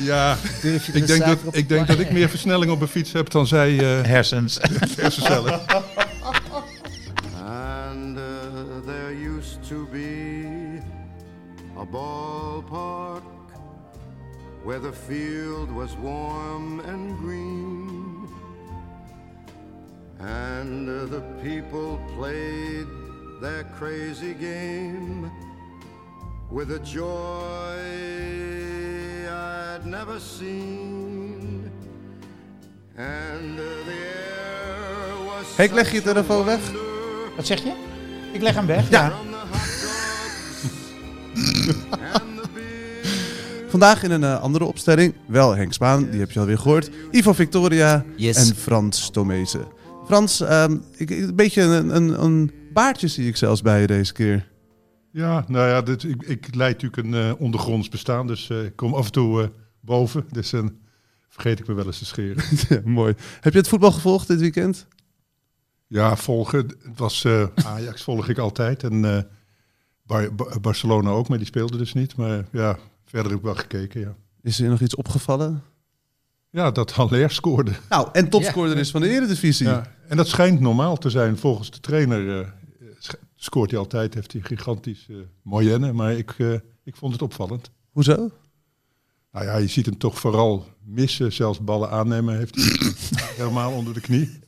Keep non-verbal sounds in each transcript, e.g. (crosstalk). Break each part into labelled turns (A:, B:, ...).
A: Ja, ik denk, dat, ik denk dat ik meer versnelling op mijn fiets heb dan zij eh (laughs)
B: hersens.
A: hersencellen.
C: And uh, there used to be a ballpark where the field was warm and green. And uh, the people played their crazy game with a joy I'd never seen. And uh, the air was.
D: Henk, leg je telefoon weg?
B: Wat zeg je? Ik leg hem weg. Ja.
D: Vandaag in een eh, andere opstelling. Wel Henk Spaan, die heb je alweer gehoord. Ivo Victoria
B: Yes.
D: en Frans Tomezen. Frans, ehm, ik, ik- een beetje een, een, een baardje zie ik zelfs bij je deze keer.
A: Ja, nou ja, dit, ik, ik leid natuurlijk een eh, ondergronds bestaan, dus eh, ik kom af en toe eh, boven. Dus dan vergeet ik me wel eens te scheren.
D: (laughs) Ja, mooi. Heb je het voetbal gevolgd dit weekend?
A: Ja, volgen. Het was eh, Ajax volg ik altijd en eh, Bar- Bar- Barcelona ook, maar die speelde dus niet. Maar ja, verder heb ik wel gekeken, ja.
D: Is er nog iets opgevallen?
A: Ja, dat Haller scoorde.
D: Nou, en topscorer is van de Eredivisie.
A: Ja. En dat schijnt normaal te zijn volgens de trainer. eh, sch- scoort hij altijd, heeft hij een gigantisch eh moyenne. Maar ik, eh, ik vond het opvallend.
D: Hoezo?
A: Nou ja, je ziet hem toch vooral missen, zelfs ballen aannemen heeft
D: (laughs)
A: hij helemaal onder de knie.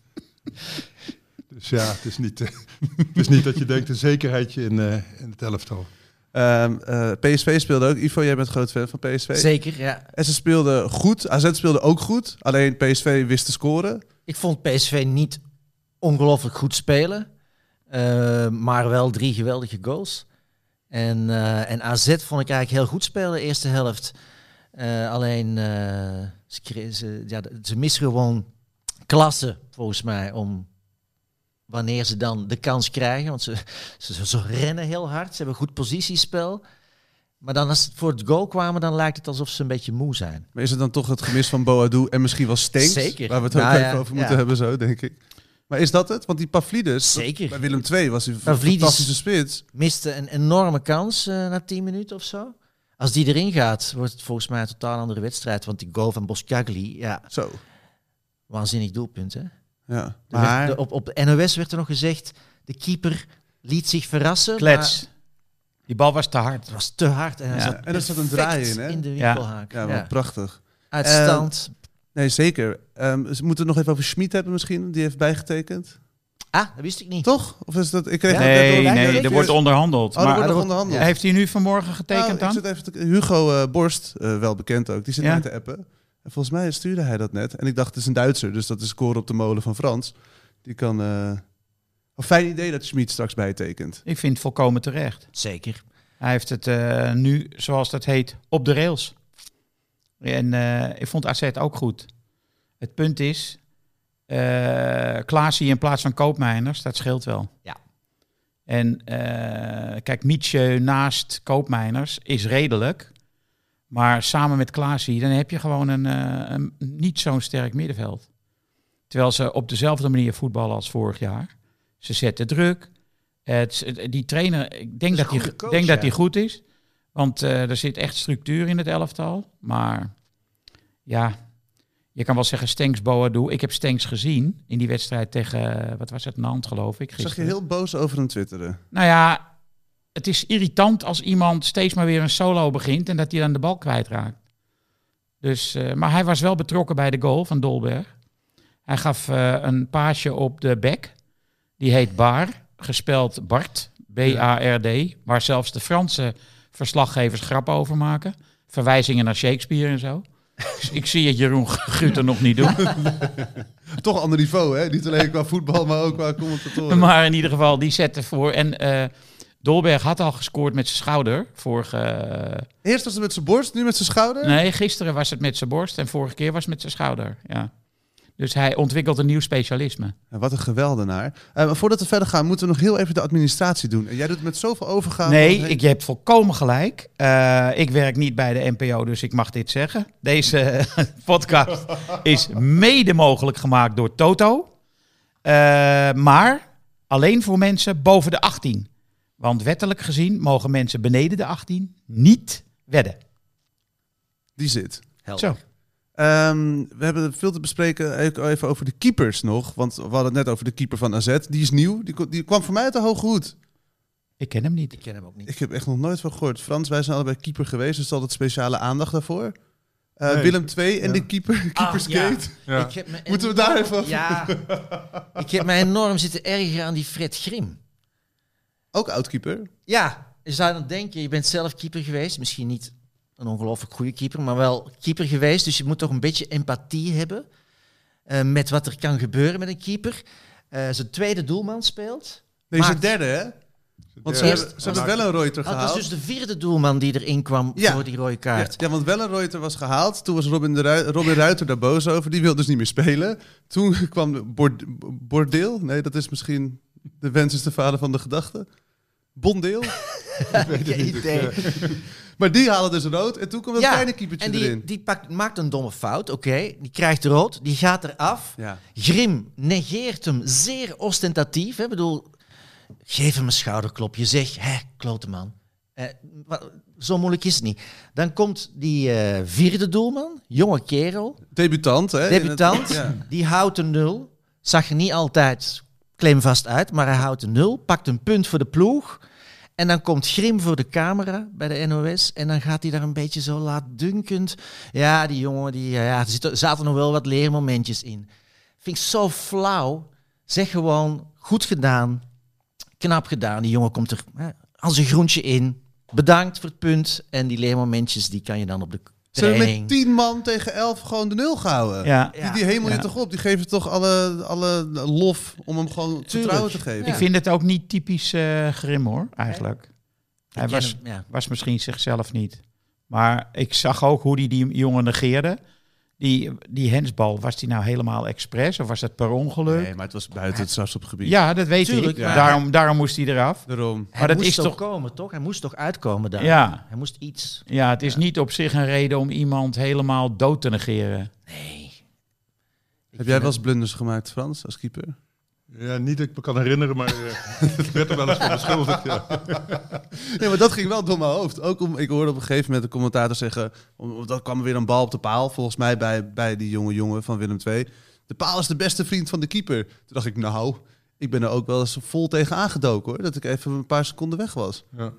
A: Dus ja, het is niet, eh, (laughs) het is niet dat je denkt een zekerheidje in, eh, in het elftal.
D: Ehm, eh, PSV speelde ook. Ivo, jij bent groot fan van PSV.
B: Zeker, ja.
D: En ze speelden goed. AZ speelde ook goed. Alleen PSV wist te scoren.
B: Ik vond PSV niet ongelooflijk goed spelen. eh, maar wel drie geweldige goals. En, eh, en AZ vond ik eigenlijk heel goed spelen, de eerste helft. Eh, alleen, eh, ze, cre- ze, ja, ze missen gewoon klasse, volgens mij, om wanneer ze dan de kans krijgen. Want ze, ze, ze- ze rennen heel hard, ze hebben goed positiespel. Maar dan als ze voor het goal kwamen, dan lijkt het alsof ze een beetje moe zijn.
D: Maar is het dan toch het gemis van Boadu en misschien wel Stenks?
B: Zeker.
D: Waar we het ook
B: Nou
D: even
B: ja,
D: over
B: ja.
D: moeten hebben zo, denk ik. Maar is dat het? Want die Pavlidis, Dus dat-
B: Zeker.
D: bij Willem II was hij een
B: Pavlidis-
D: fantastische spits.
B: miste een enorme kans eh, na 10 minuten of zo. Als die erin gaat, wordt het volgens mij een totaal andere wedstrijd. Want die goal van Boscagli, ja,
D: Zo,
B: waanzinnig doelpunt. Hè? Er
D: ja.
B: werd-
D: Maar
B: de- op, op de NOS werd er nog gezegd, de keeper liet zich verrassen. maar
E: Klets. Die bal was te hard.
B: Het was te hard en hij
E: Ja,
B: zat
D: en er zat een
B: perfect
D: draai in, hè?
B: de
E: Ja.
B: winkelhaak.
D: ja,
B: Ja,
D: wel prachtig.
B: Uitstand.
D: Nee, zeker. Ehm, dus we moeten het nog even over Schmid hebben misschien. Die heeft bijgetekend.
B: ah, dat wist ik niet.
D: Toch? Of is dat... Ik kreeg Oh, dat net
E: Nee,
D: door-
E: nee,
D: dat-
E: er wordt onderhandeld.
D: Oh, er
E: maar
D: wordt nog onderhandeld.
E: heeft hij nu vanmorgen
D: Nou,
E: getekend
D: ik
E: dan?
D: zit even te- Hugo eh, Borst, eh, wel bekend ook, die zit
E: Ja.
D: mij te appen. En volgens mij stuurde hij dat net. En ik dacht, het is een Duitser, dus dat is koren op de molen van Frans. Die kan... eh, een fijn idee dat Schmid straks bijtekent.
E: Ik vind het volkomen terecht.
B: Zeker.
E: Hij heeft het eh, nu, zoals dat heet, op de rails. En eh, ik vond AZ ook goed. Het punt is, eh Klaasie in plaats van Koopmeiners, dat scheelt wel.
B: Ja.
E: En eh, kijk, Mietje naast Koopmeiners is redelijk. Maar samen met Klaasie, dan heb je gewoon een, eh, een niet zo'n sterk middenveld. Terwijl ze op dezelfde manier voetballen als vorig jaar. Ze zetten druk. Het, het- die trainer, ik denk dat,
B: een
E: die,
B: goede coach,
E: denk dat
B: ja.
E: die goed is. Want eh, er zit echt structuur in het elftal. Maar ja, je kan wel zeggen Stenks, Boadu. Ik heb Stenks gezien in die wedstrijd tegen, eh, wat was het, Nant geloof ik.
D: Zag je
E: gisteren.
D: heel boos over hem twitteren.
E: Nou ja, het is irritant als iemand steeds maar weer een solo begint en dat hij dan de bal kwijtraakt. Dus, eh, maar hij was wel betrokken bij de goal van Dolberg. Hij gaf eh, een paasje op de bek. Die heet Baar, gespeld Bart, B-A-R-D. Waar zelfs de Franse verslaggevers grap over maken. Verwijzingen naar Shakespeare en zo. Dus Ik zie het Jeroen Guter nog niet doen.
D: Toch een ander niveau, hè? Niet alleen qua voetbal, maar ook qua commentatoren.
E: Maar in ieder geval, die zette voor. En eh, Dolberg had al gescoord met zijn schouder. Vorige, eh,
D: Eerst was het met zijn borst, nu met zijn schouder.
E: Nee, gisteren was het met zijn borst en vorige keer was het met zijn schouder. Ja. Dus hij ontwikkelt een nieuw specialisme.
D: En wat een geweldenaar. Eh, maar voordat we verder gaan, moeten we nog heel even de administratie doen. En jij doet het met zoveel overgaan.
E: Nee, ik, je hebt volkomen gelijk. Eh, ik werk niet bij de NPO, dus ik mag dit zeggen. Deze (laughs) podcast is mede mogelijk gemaakt door Toto. Eh, maar alleen voor mensen boven de 18. Want wettelijk gezien mogen mensen beneden de 18 niet wedden.
D: Die zit.
B: Helder.
E: Zo.
D: Ehm, we hebben veel te bespreken eh, ook even over de keepers nog. Want we hadden het net over de keeper van AZ. Die is nieuw. Die, ko- die kwam voor mij uit de hoge hoed.
E: Ik ken hem niet.
B: Ik ken hem ook niet.
D: Ik heb echt nog nooit van gehoord. Frans, wij zijn allebei keeper geweest. Dus altijd speciale aandacht daarvoor. Eh,
A: Nee.
D: Willem II en
A: Ja.
D: de keeper. Keepersgate.
A: Ja.
B: Ik heb me
D: Moeten we daar even over-
B: Ah, Ja. ik heb mij enorm zitten ergeren aan die Fred Grim.
D: Ook oud-keeper.
B: Ja, je zou dan denken, je bent zelf keeper geweest. Misschien niet een ongelooflijk goede keeper, maar wel keeper geweest. Dus je moet toch een beetje empathie hebben eh, met wat er kan gebeuren met een keeper. Eh, zijn tweede doelman speelt.
D: Nee, zijn
B: Maakt-
D: derde, hè? Want ze
B: Eerst-
D: hebben, ze hebben wel een Reuter
B: Ah, dat was
D: gehaald.
B: dus de vierde doelman die erin kwam
D: Ja.
B: voor die rode
D: Ja,
B: kaart.
D: ja, want Wellenreuter was gehaald. Toen was Robin, de Ruij- Robin Ruiter daar boos over. Die wilde dus niet meer spelen. Toen (laughs) kwam Bord- Bordeel. Nee, dat is misschien... De wens is de vader van de gedachte. Bondeel.
B: (laughs) Geen idee.
D: maar die halen dus rood. En toen kwam dat
B: Ja,
D: kleine keepertje
B: En die,
D: erin.
B: die pakt, maakt een domme fout, oké. Die krijgt rood, die gaat eraf.
D: Ja.
B: Grim negeert hem zeer ostentatief. Hè? Ik bedoel, geef hem een schouderklopje. Zeg, hè, klote man. Eh, wa- zo moeilijk is het niet. Dan komt die eh, vierde doelman, jonge kerel,
D: Debutant, hè? in het-
B: debutant.
D: ja.
B: Die houdt een nul. Zag er niet altijd claimvast uit, maar hij houdt een nul. Pakt een punt voor de ploeg. En dan komt Grim voor de camera bij de NOS. En dan gaat hij daar een beetje zo laatdunkend. Ja, die jongen, die, ja, er zitten- zaten nog wel wat leermomentjes in. Vind ik zo flauw. Zeg gewoon, goed gedaan. Knap gedaan. Die jongen komt er hè, als een groentje in. Bedankt voor het punt. En die leermomentjes, die kan je dan op de
D: Ze hebben
B: training...
D: met 10 man tegen 11 gewoon de nul gehouden.
E: Ja.
D: Die, die hemel je
E: Ja.
D: toch op? Die geven toch alle, alle lof om hem gewoon vertrouwen te geven?
E: Ik vind het ook niet typisch eh, Grim hoor, eigenlijk. Hij
B: Ik ken
E: was,
B: hem, ja.
E: was misschien zichzelf niet. Maar ik zag ook hoe hij die jongen negeerde. Die, die hensbal, was die nou helemaal expres of was dat per ongeluk?
D: Nee, maar het was buiten het strafschopgebied.
E: ja, dat weet
B: Tuurlijk,
E: ik.
B: maar-
E: Daarom, daarom moest hij eraf.
D: Daarom.
E: Maar dat
B: moest
E: is toch...
B: komen, toch? Hij moest toch uitkomen daar?
E: Ja,
B: Hij moest iets.
E: ja, het is niet op zich een reden om iemand helemaal dood te negeren.
D: Heb jij wel eens blunders gemaakt, Frans, als keeper?
A: Ja, niet dat ik me kan herinneren, maar eh, (laughs) het werd er wel eens van beschuldigd. Ja.
D: Nee, maar dat ging wel door mijn hoofd. Ook om, ik hoorde op een gegeven moment de commentator zeggen... Om, om- dat kwam weer een bal op de paal, volgens mij bij, bij die jonge jongen van Willem II. De paal is de beste vriend van de keeper. Toen dacht ik, nou, ik ben er ook wel eens vol tegen aangedoken hoor. Dat ik even een paar seconden weg was.
A: Ja.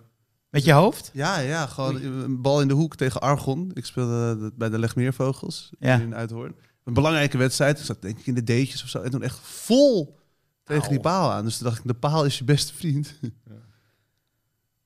E: Met je hoofd?
D: Ja, ja, gewoon een bal in de hoek tegen Argon. Ik speelde dat bij de Legmeervogels
E: Ja.
D: hier in Uithoorn. Een belangrijke wedstrijd. Ik zat denk ik in de deetjes of zo. En toen echt vol tegen die paal aan. Dus toen dacht ik, de paal is je beste vriend. (laughs)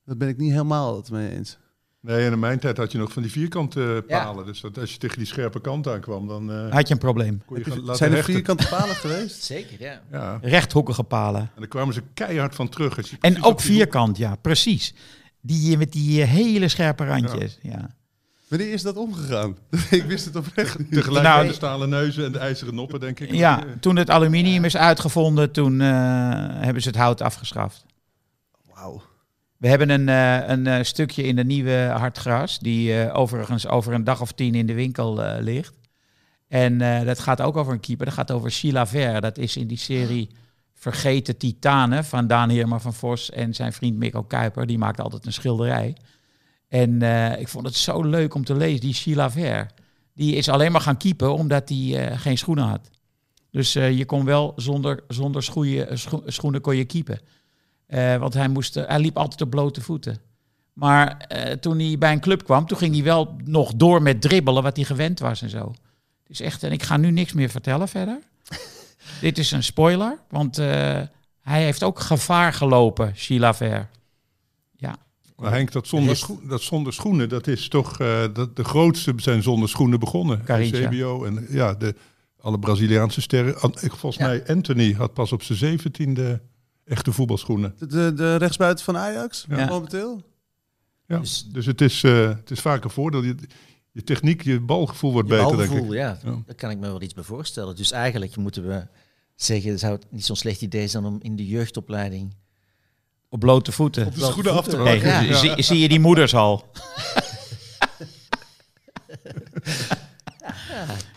D: Dat ben ik niet helemaal het mee eens.
A: Nee, en in mijn tijd had je nog van die vierkante
B: Ja.
A: palen. Dus dat, als je tegen die scherpe kant aankwam, dan eh,
E: Had je een probleem?
A: kon je gaan laten
D: Zijn er
A: hechten.
D: vierkante palen geweest?
B: Zeker, ja.
A: Ja, en
E: Rechthoekige palen.
A: daar kwamen ze keihard van terug. Als je
E: En
A: precies op
E: ook
A: die hoek-
E: vierkant, ja, precies. Die eh, met die eh, hele scherpe randjes. Ja.
D: (laughs) Wanneer is dat omgegaan? (laughs) ik wist het oprecht niet.
A: Tegelijk
E: Nou,
A: met de stalen neuzen en de ijzeren noppen, denk ik.
E: Ja. toen het aluminium is uitgevonden, toen eh, hebben ze het hout afgeschaft.
D: Wauw.
E: We hebben een, eh, een eh, stukje in de nieuwe hardgras, die eh, overigens over een dag of tien in de winkel eh, ligt. En eh, dat gaat ook over een keeper, dat gaat over Sheila Ver. Dat is in die serie Vergeten Titanen van Daan Heerma van Vos en zijn vriend Mikko Kuiper. Die maakt altijd een schilderij. En eh, ik vond het zo leuk om te lezen, die Sheila Ver. Die is alleen maar gaan keepen omdat hij eh, geen schoenen had. Dus eh, je kon wel zonder, zonder schoeien, scho- schoenen kon je keepen. Eh, want hij, moest, eh, hij liep altijd op blote voeten. Maar eh, toen hij bij een club kwam, toen ging hij wel nog door met dribbelen, wat hij gewend was en zo. Dus echt, en ik ga nu niks meer vertellen verder. (laughs) Dit is een spoiler, want eh, hij heeft ook gevaar gelopen, Chilaver. Ja.
A: Maar Henk, dat zonder, schoen- dat zonder schoenen, dat is toch... eh, dat, de grootste zijn zonder schoenen begonnen.
E: Carintje.
A: CBO en ja, de, alle Braziliaanse sterren. An- ik- Volgens
B: Ja.
A: mij Anthony had pas op zijn zeventiende echte voetbalschoenen.
D: De, de, de rechtsbuiten van Ajax,
E: Ja.
D: momenteel.
A: Ja.
B: Dus-
A: Dus, het, is, eh, het is vaak een voordeel. Je, je techniek, je balgevoel wordt
B: Je
A: beter, denk
B: balgevoel,
A: ik.
B: ja.
A: Ja.
B: Daar kan ik me wel iets bij voorstellen. Dus eigenlijk moeten we zeggen, zou het niet zo'n slecht idee zijn om in de jeugdopleiding...
E: Op blote voeten.
D: Op de schoenen af te
E: Nee,
D: maken. Ja.
A: (laughs)
E: zie, zie je die moeders al?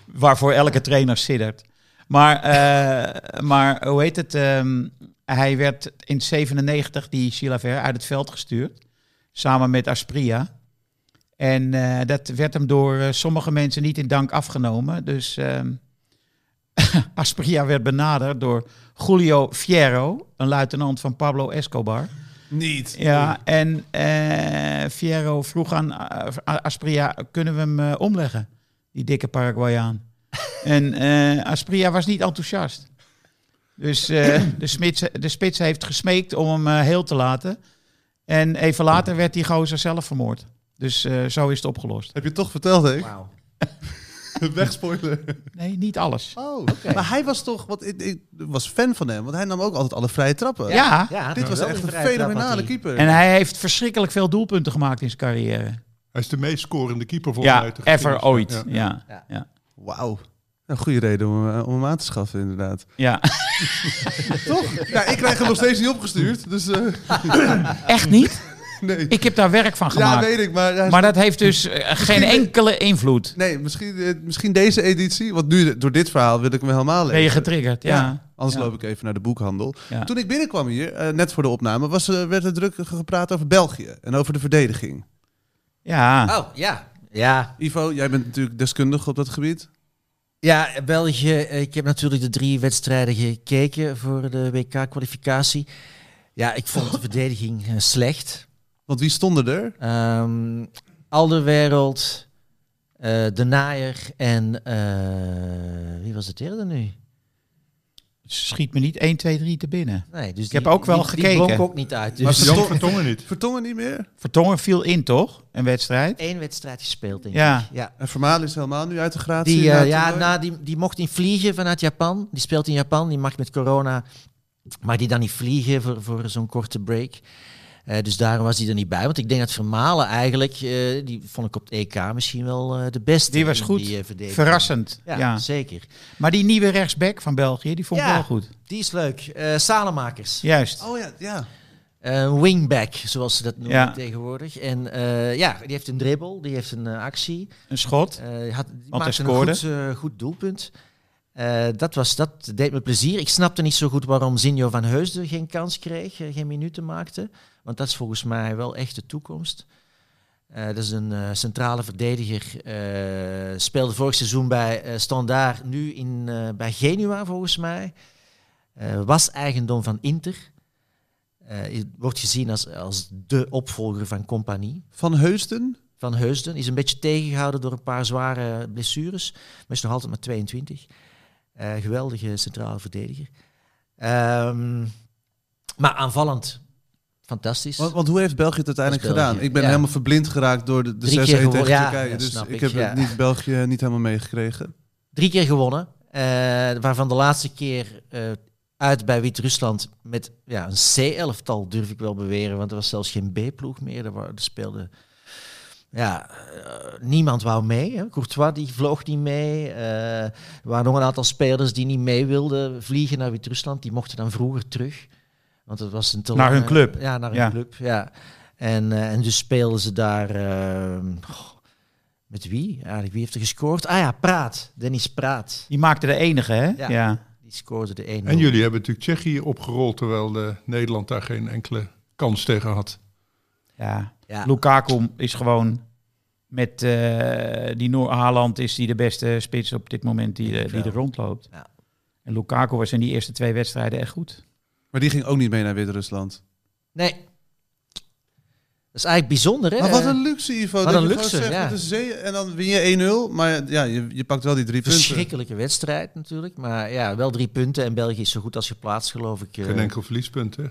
E: Waarvoor elke trainer siddert. Maar, eh, maar hoe heet het? ehm, hij werd in 97, die Chilaver, uit het veld gestuurd. Samen met Aspria. En eh, dat werd hem door eh, sommige mensen niet in dank afgenomen. Dus ehm, (laughs) Aspria werd benaderd door Julio Fierro, een luitenant van Pablo Escobar.
D: Niet.
E: Ja, en eh Fierro vroeg aan eh, A- Aspria, kunnen we hem eh, omleggen? Die dikke (laughs) Paraguayaan. en eh, Aspria was niet enthousiast. Dus eh, (clears throat) de, smits, de spits heeft gesmeekt om hem eh, heel te laten. En even later werd die gozer zelf vermoord. Dus eh, zo is het opgelost.
D: Heb je het toch verteld, hè?
B: Wauw.
D: Wegspoilen.
E: Nee, niet alles.
D: Oh, maar hij was toch... Want ik, ik was fan van hem, want hij nam ook altijd alle vrije trappen.
E: Ja.
B: Ja,
D: Dit was
B: wel
D: echt
B: die
D: een
B: vrije trap had
D: fenomenale
B: hij.
D: keeper.
E: En hij heeft verschrikkelijk veel doelpunten gemaakt in zijn carrière.
A: Hij is de meest scorende keeper volgens mij.
E: Ja,
A: uit de
E: ever
A: geschiedenis.
E: ooit.
A: Ja.
E: Ja.
B: Ja.
E: Ja.
D: Wauw. Een goede reden om, eh, om hem aan te schaffen, inderdaad.
E: ja.
D: Toch? Ja, ik krijg hem nog steeds niet opgestuurd, dus eh,
E: Echt niet?
D: nee.
E: Ik heb daar werk van
D: Ja,
E: gemaakt.
D: weet ik, maar... hij is-
E: Maar dat heeft dus eh, geen enkele invloed.
D: Nee, misschien, eh, misschien deze editie, want nu door dit verhaal wil ik hem helemaal lezen.
E: Ben je getriggerd? Ja.
D: Anders
E: Ja.
D: loop ik even naar de boekhandel.
E: Ja.
D: Toen ik binnenkwam hier, eh, net voor de opname, was, eh, werd er druk gepraat over België en over de verdediging.
E: Ja.
B: Oh, ja. Ja,
D: Ivo, jij bent natuurlijk deskundig op dat gebied.
B: ja, België. eh, Ik heb natuurlijk de drie wedstrijden gekeken voor de WK-kwalificatie. Ja, ik vond de verdediging eh, slecht.
D: Want wie stonden er?
B: Ehm Alderwereld, eh, De Naaier en eh, wie was het derde nu?
E: Schiet me niet 1, 2, 3 te binnen.
B: Nee, dus ik
E: heb ook wel
B: die, Die
E: gekeken.
B: blonk ook niet uit.
A: Maar
B: Dus
A: Jan Vertongen niet.
D: Vertongen niet meer.
E: Vertongen viel in, toch? Een wedstrijd.
B: één wedstrijd gespeeld, denk
E: Ja.
B: ik. Ja.
D: En Vermalen is helemaal nu uit de gratie.
B: Die,
D: na
B: eh,
D: het
B: ja,
D: toernooi.
B: na, die, die mocht niet vliegen vanuit Japan. Die speelt in Japan. Die mag met corona. Maar die dan niet vliegen voor, voor zo'n korte break. Eh, dus daarom was hij er niet bij. Want ik denk dat Vermalen eigenlijk, eh, die vond ik op het EK misschien wel eh, de beste.
E: Die was
B: in
E: goed.
B: eh, verdediging.
E: Verrassend.
B: Ja,
E: Ja,
B: zeker.
E: Maar die nieuwe rechtsback van België, die vond ik
B: Ja.
E: wel goed.
B: Die is leuk. Eh Salemakers.
E: Juist.
D: Oh ja, ja.
B: Eh, wingback, zoals ze dat noemen
E: Ja.
B: tegenwoordig. En eh, ja, die heeft een dribbel, die heeft een eh, actie.
E: Een schot.
B: Eh, had, die
E: hij
B: maakte een
E: scoorde.
B: goed, eh, goed doelpunt. Eh, dat, was, dat deed me plezier. Ik snapte niet zo goed waarom Zinjo van Heusden geen kans kreeg, eh, geen minuten maakte. Want dat is volgens mij wel echt de toekomst. Eh, dat is een eh, centrale verdediger. eh, speelde vorig seizoen bij eh Standaard, nu in, eh, bij Genua volgens mij. Eh, was eigendom van Inter. Eh, wordt gezien als, als de opvolger van Compagnie
D: Van Heusden.
B: van Heusden. Is een beetje tegengehouden door een paar zware blessures. Maar is nog altijd maar 22. Eh, geweldige centrale verdediger. Ehm, maar aanvallend, fantastisch.
D: Want, want hoe heeft België het uiteindelijk
B: Dat is België,
D: gedaan? Ik ben
B: ja.
D: helemaal verblind geraakt door de, de 6-1
B: Drie keer
D: tegen
B: gewonnen, ja,
D: Turkije.
B: dat
D: dus
B: snap
D: ik,
B: ik,
D: heb
B: ja.
D: het niet, België eh, niet helemaal meegekregen.
B: Drie keer gewonnen. eh, waarvan de laatste keer eh, uit bij Wit-Rusland met ja, een C-elftal, durf ik wel beweren. Want er was zelfs geen B-ploeg meer. Er, wa- er speelde... Ja, eh, niemand wou mee. Hè. Courtois die vloog niet mee. eh, Er waren nog een aantal spelers die niet mee wilden vliegen naar Wit-Rusland. Die mochten dan vroeger terug. Want het was een te
E: Naar hun
B: lange-
E: club.
B: Ja, naar hun
E: Ja.
B: club. Ja. En, eh, en dus speelden ze daar. eh, goh, met wie? Eigenlijk, wie heeft er gescoord? Ah ja, Praat. Dennis Praat.
E: Die maakte de enige, hè?
B: Ja.
E: Ja.
B: Die scoorde de 1
A: En jullie hebben natuurlijk Tsjechië opgerold, terwijl eh, Nederland daar geen enkele kans tegen had.
E: ja.
B: Ja.
E: Lukaku is gewoon met eh, die Noor Haaland is die de beste spits op dit moment die,
B: Denk
E: eh,
B: ik
E: die
B: wel.
E: er rondloopt.
B: Ja.
E: En Lukaku was in die eerste twee wedstrijden echt goed.
D: Maar die ging ook niet mee naar Wit-Rusland.
B: Nee. is eigenlijk bijzonder, hè?
D: Maar wat een luxe, Ivo.
B: wat
D: dat
B: een
D: je gewoon
B: luxe,
D: zegt,
B: ja.
D: het is zee- en dan win je 1-0, maar ja, je, je pakt wel die drie punten.
B: verschrikkelijke wedstrijd natuurlijk. Maar ja, wel drie punten. En België is zo goed als geplaatst, geloof ik. eh.
A: Geen enkel verliespunt, hè?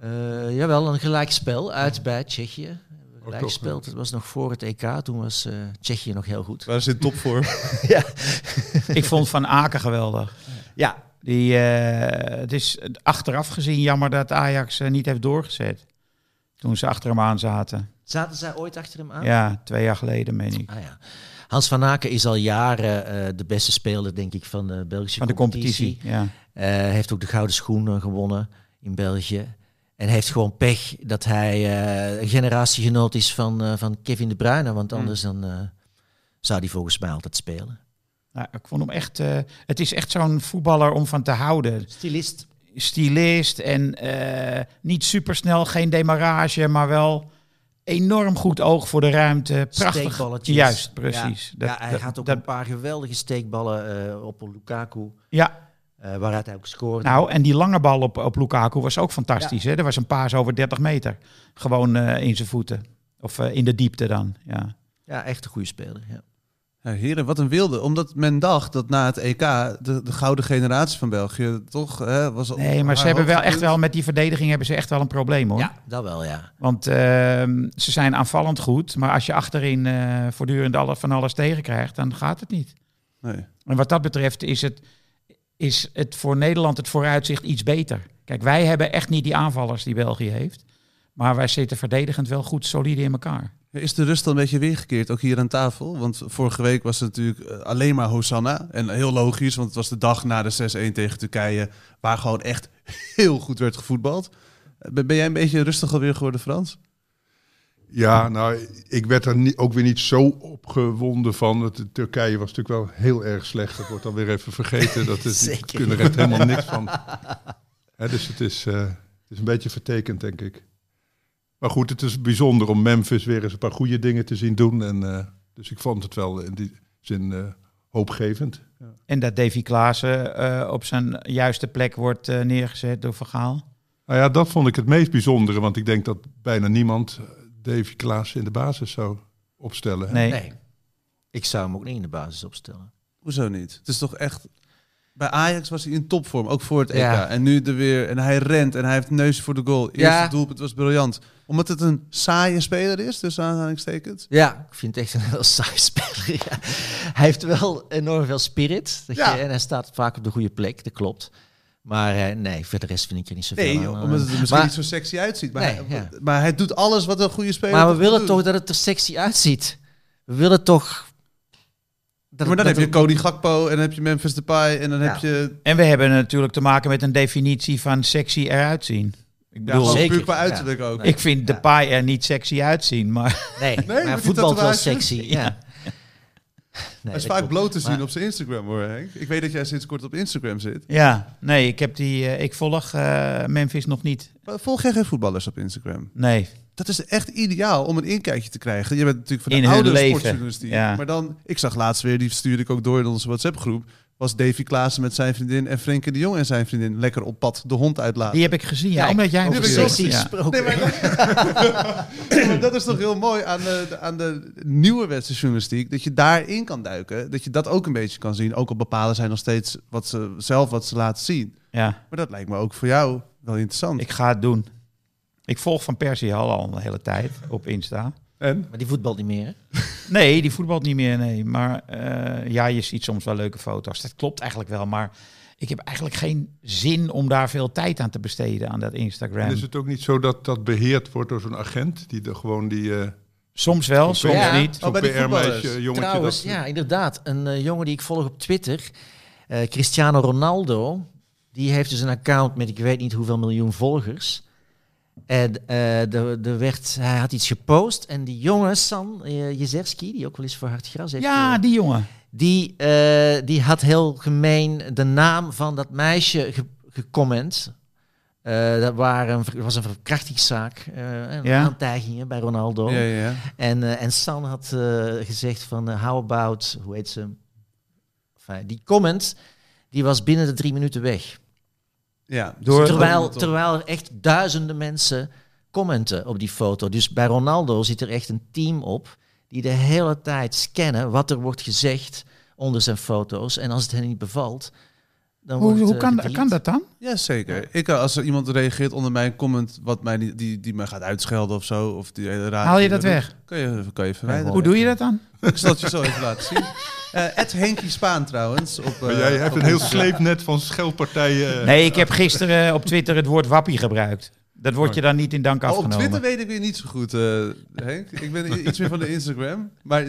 B: Eh, jawel, een gelijkspel uit bij Tsjechië. Gelijkspel,
A: Oh, toch,
B: dat was nog voor het EK. Toen was eh, Tsjechië nog heel goed.
D: Waar zit top voor?
B: ja.
E: Ik vond Van Aken geweldig.
B: ja,
E: Die, eh, het is achteraf gezien jammer dat Ajax eh, niet heeft doorgezet. Toen ze achter hem aan zaten.
B: zaten zij ooit achter hem aan?
E: Ja, twee jaar geleden, meen ik.
B: Ah, ja. Hans van Aken is al jaren eh, de beste speler, denk ik, van de Belgische
E: Van de competitie. Ja.
B: Eh, heeft ook de Gouden Schoen eh, gewonnen in België. En heeft gewoon pech dat hij eh, een generatiegenoot is van, eh, van Kevin de Bruyne. Want
E: Hmm.
B: anders dan, eh, zou hij volgens mij altijd spelen.
E: Nou, ik vond hem echt. eh, het is echt zo'n voetballer om van te houden.
B: Stilist.
E: Stylist en eh, niet supersnel, geen demarrage, maar wel enorm goed oog voor de ruimte. Prachtig.
B: Steekballetjes.
E: Juist, precies.
B: Ja,
E: Dat-
B: ja, hij
E: dat-
B: had ook
E: dat-
B: een paar geweldige steekballen eh, op Lukaku.
E: ja,
B: eh, waaruit hij ook scoorde.
E: nou, en die lange bal op, op Lukaku was ook fantastisch. Hè? Er was een paas over 30 meter. Gewoon eh, in zijn voeten. Of eh, in de diepte dan. Ja.
B: Ja, echt een goede speler. Ja.
D: Ja, heren, wat een wilde. Omdat men dacht dat na het EK de, de gouden generatie van België toch hè, was...
E: Nee, maar ze
D: haar
E: hebben wel echt
D: hoogtepunt.
E: wel met die verdediging hebben ze echt wel een probleem hoor.
B: ja, dat wel, ja.
E: Want ehm, ze zijn aanvallend goed, maar als je achterin eh, voortdurend alle, van alles tegenkrijgt, dan gaat het niet.
D: Nee.
E: En wat dat betreft is het, is het voor Nederland het vooruitzicht iets beter. Kijk, wij hebben echt niet die aanvallers die België heeft. Maar wij zitten verdedigend wel goed solide in elkaar.
D: Is de rust al een beetje weergekeerd, ook hier aan tafel? Want vorige week was het natuurlijk eh, alleen maar Hosanna. En heel logisch, want het was de dag na de 6-1 tegen Turkije... waar gewoon echt heel goed werd gevoetbald. Eh, Ben ben jij een beetje rustig alweer geworden, Frans?
A: Ja, nou, ik werd er niet, ook weer niet zo opgewonden van. Het, Turkije was natuurlijk wel heel erg slecht. Dat wordt dan weer even vergeten. Dat is, die
B: Zeker.
A: kunnen er echt helemaal niks van. Hè, dus het is, eh, het is een beetje vertekend, denk ik. Maar goed, het is bijzonder om Memphis weer eens een paar goede dingen te zien doen. En, eh, dus ik vond het wel in die zin eh, hoopgevend.
E: En dat Davy Klaassen eh, op zijn juiste plek wordt eh, neergezet door Vergaal.
A: Nou ja, dat vond ik het meest bijzondere. Want ik denk dat bijna niemand eh, Davy Klaas in de basis zou opstellen. hè.
E: Nee.
B: Nee. Ik zou hem ook niet in de basis opstellen.
D: Hoezo niet? Het is toch echt... Bij Ajax was hij in topvorm, ook voor het EK.
B: Ja.
D: En nu er weer. En hij rent en hij heeft neus voor de goal. Eerste
B: Ja.
D: doelpunt was briljant. Omdat het een saaie speler is, dus aanhalingstekens.
B: Ja, ik vind het echt een heel saai (laughs) speler. ja. Hij heeft wel enorm veel spirit. Dat
D: Ja.
B: je, en hij staat vaak op de goede plek, dat klopt. Maar eh, nee, voor de rest vind ik er niet zoveel
D: Nee,
B: aan.
D: joh,
B: eh.
D: omdat het er misschien
B: maar,
D: niet zo sexy uitziet. Maar,
B: Nee,
D: hij,
B: ja.
D: maar hij doet alles wat een goede speler
B: maar we
D: moet
B: willen
D: doen.
B: toch dat het er sexy uitziet. We willen toch... Dat,
D: maar dan
B: dat
D: heb je
B: er-
D: Cody Gakpo en dan heb je Memphis Depay en dan
B: Ja.
D: heb je...
E: En we hebben natuurlijk te maken met een definitie van sexy eruit zien. Ik
D: Ja,
E: bedoel,
D: gewoon
B: zeker.
D: puur qua
B: Ja.
D: uiterlijk ook.
E: ik vind de Depay er niet sexy uitzien,
D: (laughs)
E: maar... (laughs)
B: Nee,
D: met die
B: maar voetbal wel
D: tatoeage.
B: sexy. Ja.
D: (laughs)
B: Nee,
D: hij is
B: dat
D: vaak
B: klopt.
D: bloot te zien
B: Maar-
D: op zijn Instagram hoor, Henk. Ik weet dat jij sinds kort op Instagram zit.
E: Ja, nee, ik, heb die, eh, ik volg eh, Memphis nog niet.
D: Maar volg jij geen voetballers op Instagram?
E: Nee,
D: Dat is echt ideaal om een inkijkje te krijgen. Je bent natuurlijk van de
E: In hun
D: oude
E: leven,
D: sportjournalistiek.
E: ja.
D: Maar dan, ik zag laatst weer, die stuurde ik ook door in onze WhatsApp-groep... was Davy Klaassen met zijn vriendin en Frenkie de Jong en zijn vriendin... lekker op pad de hond uitlaten.
E: die heb ik gezien. Ja,
B: Kijk,
E: omdat jij hem
D: over
E: gezien
B: sexy
E: hebt. Ja.
B: gesproken.
D: Nee, maar dat, maar dat is toch heel mooi aan de, de- aan de nieuwerwetse journalistiek. Dat je daarin kan duiken. Dat je dat ook een beetje kan zien. Ook al bepalen zij nog steeds wat ze, zelf wat ze laten zien.
E: Ja,
D: Maar dat lijkt me ook voor jou wel interessant.
E: ik ga het doen. Ik volg Van Persie al, al een hele tijd op Insta.
D: en?
B: Maar die voetbal niet meer. hè?
E: Nee, die voetbalt niet meer, nee. Maar eh, ja, je ziet soms wel leuke foto's. Dat klopt eigenlijk wel, maar ik heb eigenlijk geen zin om daar veel tijd aan te besteden, aan dat
A: En
E: Instagram.
A: is Dus het ook niet zo dat dat beheerd wordt door zo'n agent die er gewoon die eh,
E: Soms wel, soms
B: Ja.
E: niet.
A: zo'n
D: Oh, bij die voetballers.
A: PR-meisje, jongetje
B: Trouwens,
A: dat
B: ja, inderdaad. Een eh, jongen die ik volg op Twitter, eh, Cristiano Ronaldo, die heeft dus een account met ik weet niet hoeveel miljoen volgers. En eh, de, de werd, hij had iets gepost en die jongen, San eh, Jezerski, die ook wel eens voor hard gras heeft.
E: Ja,
B: eh,
E: die jongen.
B: die, eh, die had heel gemeen de naam van dat meisje ge- gecomment. Eh, dat waren, een ver- was een verkrachtingszaak, eh, en
E: Ja.
B: aantijgingen bij Ronaldo.
D: Ja, ja, ja.
B: En, eh, en San had eh, gezegd van, eh, how about, hoe heet ze? Enfin, die comment, die was binnen de drie minuten weg. Dus
D: ja.
E: Door-
D: Dus-
B: Terwijl, terwijl er echt duizenden mensen commenten op die foto. Dus bij Ronaldo zit er echt een team op die de hele tijd scannen wat er wordt gezegd onder zijn foto's. En als het hen niet bevalt, dan
E: Hoe,
B: wordt
E: hoe
B: eh,
E: kan,
B: gedelete.
E: kan dat dan?
D: Ja, zeker. Ik, eh, als er iemand reageert onder mijn comment wat mij niet- die, die mij gaat uitschelden of zo, of die hele raar.
E: Haal je dat weg?
D: Kan je, kan je verwijderen.
E: Hoe doe je dat dan?
D: Ik zal het je zo even laten zien. Eh Ed Henkie Spaan trouwens. Op, eh,
A: Maar jij hebt
D: op
A: een heel
D: Instagram.
A: sleepnet van scheldpartijen.
E: Nee, ik heb gisteren op Twitter het woord wappie gebruikt. Dat wordt je dan niet in dank
D: Oh, op
E: afgenomen.
D: Twitter weet ik weer niet zo goed, eh, Henk. Ik ben i- iets meer van de Instagram. Maar,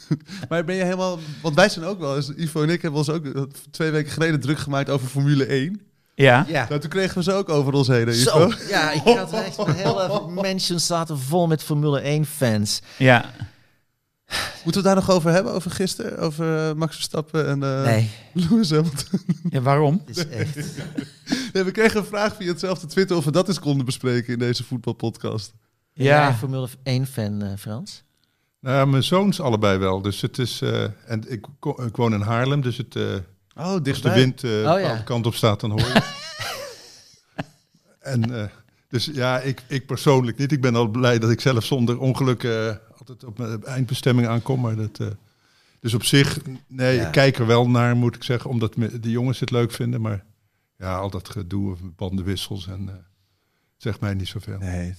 D: (laughs) maar ben je helemaal... Want wij zijn ook wel eens... Ivo en ik hebben ons ook eh, twee weken geleden druk gemaakt over Formule 1.
E: Ja.
B: Ja.
D: Nou, toen kregen we ze ook over ons heen, hè, Ivo.
B: Zo, ja, ik had echt een hele mansion zaten vol met Formule 1-fans.
E: ja.
D: Moeten we het daar nog over hebben? Over gisteren? Over eh, Max Verstappen en eh
B: Nee,
D: (laughs) Lewis Hamilton?
E: Ja, waarom?
B: het is echt...
D: Nee, we kregen een vraag via hetzelfde Twitter of we dat eens konden bespreken in deze voetbalpodcast.
B: Ben jij een
E: Ja.
B: Formule 1-fan, eh, Frans?
A: Nou ja, mijn zoons allebei wel. Dus het is. eh, en ik, ko- ik woon in Haarlem, dus het, eh,
D: Oh,
A: als de wind eh
B: ja.
A: bepaalde kant op staat, dan hoor je. en eh, dus ja, ik, ik persoonlijk niet. Ik ben al blij dat ik zelf zonder ongeluk eh, altijd op mijn eindbestemming aankom. Maar dat, eh, dus op zich, nee,
B: Ja.
A: ik kijk er wel naar, moet ik zeggen, omdat me- de jongens het leuk vinden. Maar ja, al dat gedoe of bandenwissels en eh zegt mij niet zoveel.
D: Nee.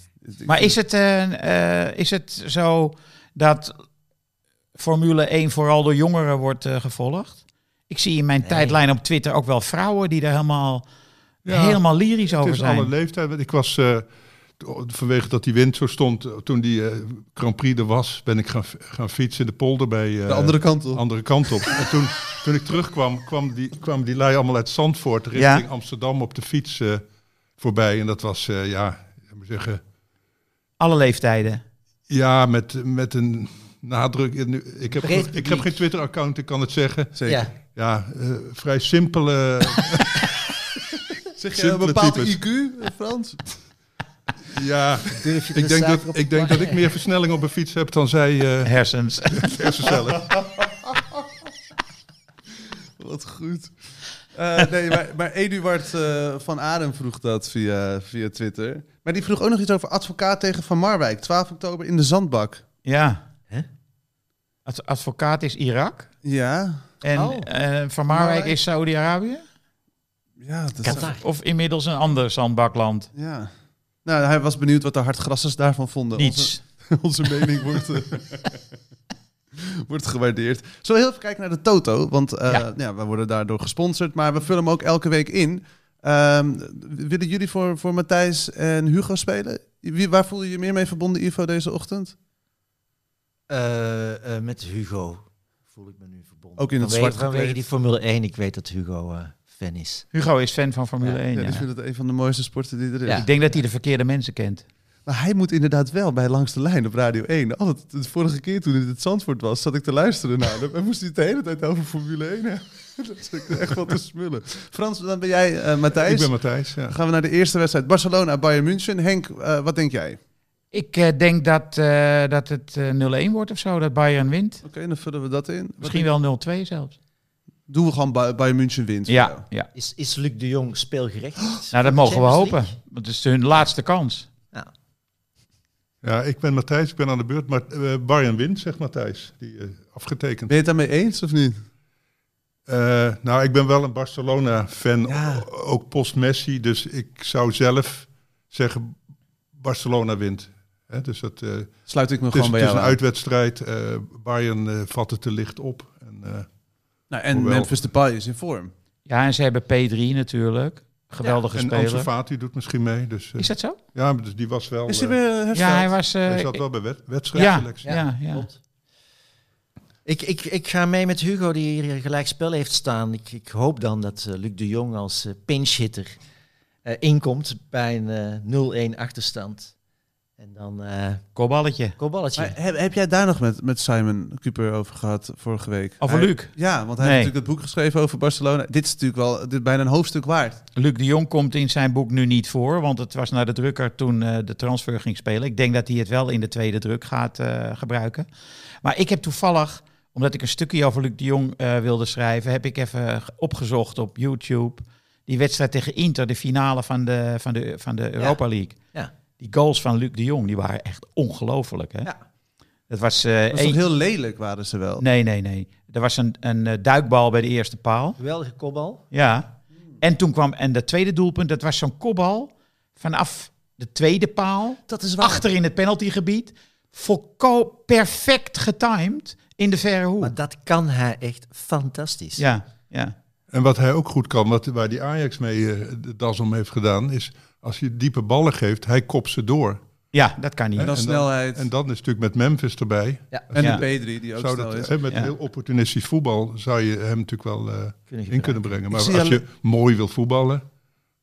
E: Maar is het, eh, eh, is het zo dat Formule 1 vooral door jongeren wordt eh, gevolgd? Ik zie in mijn
B: Nee.
E: tijdlijn op Twitter ook wel vrouwen die daar helemaal, helemaal lyrisch
A: Het
E: over
A: is alle
E: zijn.
A: leeftijd. Want Ik was, eh, to- vanwege dat die wind zo stond, eh, toen die eh, Grand Prix er was, ben ik gaan, f- gaan fietsen in de polder bij eh,
D: De andere kant
A: de
D: op.
A: andere kant op. en toen, toen ik terugkwam, kwam die, kwam die lui allemaal uit Zandvoort richting
E: Ja.
A: Amsterdam op de fiets eh, voorbij. En dat was, eh, ja, ik moet zeggen,
E: Alle leeftijden.
A: ja, met, met een nadruk. En nu- Ik heb,
B: Breed
A: ik heb
B: publiek.
A: geen Twitter-account, ik kan het zeggen.
D: Zeker.
B: Ja.
A: Ja, eh, vrij simpele...
D: Zeg je een
A: Simpele
D: bepaald
A: types.
D: IQ, eh, Frans?
A: ja,
B: Durf je
A: ik
B: de
A: denk,
B: suiker
A: dat,
B: op te
A: ik denk dat ik
B: plakken?
A: meer versnelling op een fiets heb dan zij... eh,
E: Hersens.
A: hersencellig.
D: (laughs) Wat goed. Eh, nee, maar, maar Eduard eh, van Adem vroeg dat via, via Twitter. Maar die vroeg ook nog iets over advocaat tegen Van Marwijk. 12 oktober in de Zandbak.
E: (laughs) Ja.
B: Hè?
E: Ad- advocaat is Irak.
D: Ja.
E: En
B: Oh.
E: eh, Van Marwijk
D: Marwijk.
E: is Saudi-Arabië?
D: Ja, dat
B: Qatar.
E: Of inmiddels een ander zandbakland?
D: Ja. Nou, hij was benieuwd wat de hardgrassers daarvan vonden.
E: Niets.
D: Onze, (laughs) onze mening wordt, eh, wordt gewaardeerd. Zullen we heel even kijken naar de Toto? Want eh,
E: Ja.
D: ja. we worden daardoor gesponsord, maar we vullen hem ook elke week in. Ehm, willen jullie voor, voor Matthijs en Hugo spelen? Wie, waar voel je je meer mee verbonden, Ivo, deze ochtend?
B: Eh, eh, met Hugo voel ik me nu verbonden.
D: Ook in het
B: vanwege,
D: zwart
B: Vanwege
D: gekleed.
B: die Formule 1, ik weet dat Hugo eh, fan is.
E: Hugo is fan van Formule
B: Ja.
E: 1.
D: Ja,
E: ja.
D: ik vind het een van de mooiste sporten die er is.
B: Ja.
E: Ik denk dat hij de verkeerde mensen kent.
D: Maar hij moet inderdaad wel bij Langs de Lijn op Radio 1. Altijd, de vorige keer toen het het Zandvoort was, zat ik te luisteren naar hem. En moest hij het de hele tijd over Formule 1 hebben. (laughs) Dat is ook echt wat te smullen. Frans, dan ben jij eh, Matthijs.
A: Ik ben Matthijs, ja.
D: Dan gaan we naar de eerste wedstrijd. Barcelona, Bayern München. Henk, eh, wat denk jij? Oké,
E: Ik eh, denk dat, eh, dat het eh, 0-1 wordt of zo, dat Bayern wint.
D: dan vullen we dat in. Wat
E: Misschien
D: denk-
E: wel 0-2 zelfs.
D: Doen we gewoon Ba- Bayern München wint. voor jou.
E: Ja, ja.
B: Is, is Luc de Jong speelgerecht?
E: Nou, dat mogen we hopen. Want het is hun laatste kans.
A: Ja, ik ben Matthijs, ik ben aan de beurt. Maar eh Bayern wint, zegt Matthijs. Die eh, afgetekend.
D: Ben je het daarmee eens of niet?
A: Eh, nou, ik ben wel een Barcelona-fan,
D: Ja.
A: o- ook post-Messi. Dus ik zou zelf zeggen, Barcelona wint. Hè, dus dat, eh, het
D: Sluit ik me
A: is,
D: gewoon bij
A: het is een
D: jou aan.
A: uitwedstrijd. eh, Bayern eh, vat het te licht op. En, eh,
D: Nou, en
A: Hoewel.
D: Memphis Depay is in vorm.
E: Ja, en ze hebben P3 natuurlijk. Geweldige
A: en Ansu
E: speler.
A: Fati doet misschien mee. Dus, eh,
E: Is dat zo?
A: Ja, dus die was wel...
D: Is hij
A: eh,
D: weer hersteld?
E: Ja, hij was... eh,
A: hij zat wel bij wed-
E: ja,
A: wedstrijdselectie.
E: ja, ja.
B: Klopt. Ik, ik, ik ga mee met Hugo, die hier gelijk spel heeft staan. Ik, ik hoop dan dat eh, Luc de Jong als eh, pinchhitter eh, inkomt bij een eh, 0-1 achterstand. En dan eh
E: Kopballetje.
B: kopballetje.
D: Maar heb, heb jij daar nog met, met Simon Cooper over gehad vorige week?
E: Over
D: Hij-
E: Luc.
D: Ja, want hij
E: Nee.
D: heeft natuurlijk dat boek geschreven over Barcelona. Dit is natuurlijk wel dit is bijna een hoofdstuk waard.
E: Luc de Jong komt in zijn boek nu niet voor, want het was naar de drukker toen eh, de transfer ging spelen. Ik denk dat hij het wel in de tweede druk gaat eh, gebruiken. Maar ik heb toevallig, omdat ik een stukje over Luc de Jong eh, wilde schrijven, heb ik even opgezocht op YouTube die wedstrijd tegen Inter, de finale van de, van de, van de Europa League.
B: Ja.
E: Die Die goals van Luc de Jong, die waren echt ongelooflijk. Hè?
D: Ja.
E: Dat was, eh
D: Dat was
E: één-
D: toch heel lelijk, waren ze wel.
E: Nee, nee, nee. Er was een, een eh, duikbal bij de eerste paal.
B: Geweldige kopbal.
E: Ja. En toen kwam, en dat tweede doelpunt, dat was zo'n kopbal vanaf de tweede paal.
B: Dat is waar.
E: Achter in het penaltygebied. Volkomen perfect getimed in de verre hoek.
B: Maar dat kan hij echt fantastisch.
E: Ja, ja.
A: En wat hij ook goed kan, wat, waar die Ajax mee eh, de das om heeft gedaan, is als je diepe ballen geeft, hij kopt ze door.
E: Ja, dat kan niet.
D: En dan
A: En dan-
D: snelheid.
A: En
D: En,
A: dan is natuurlijk met Memphis erbij.
E: Ja.
D: de P3, die ook
A: Zou
D: snel is.
A: dat, hè, met
E: Ja.
A: heel opportunistisch voetbal zou je hem natuurlijk wel eh,
B: Kunnen
A: in kunnen brengen. Maar
D: Ik
A: als
D: zie
A: je mooi wil voetballen.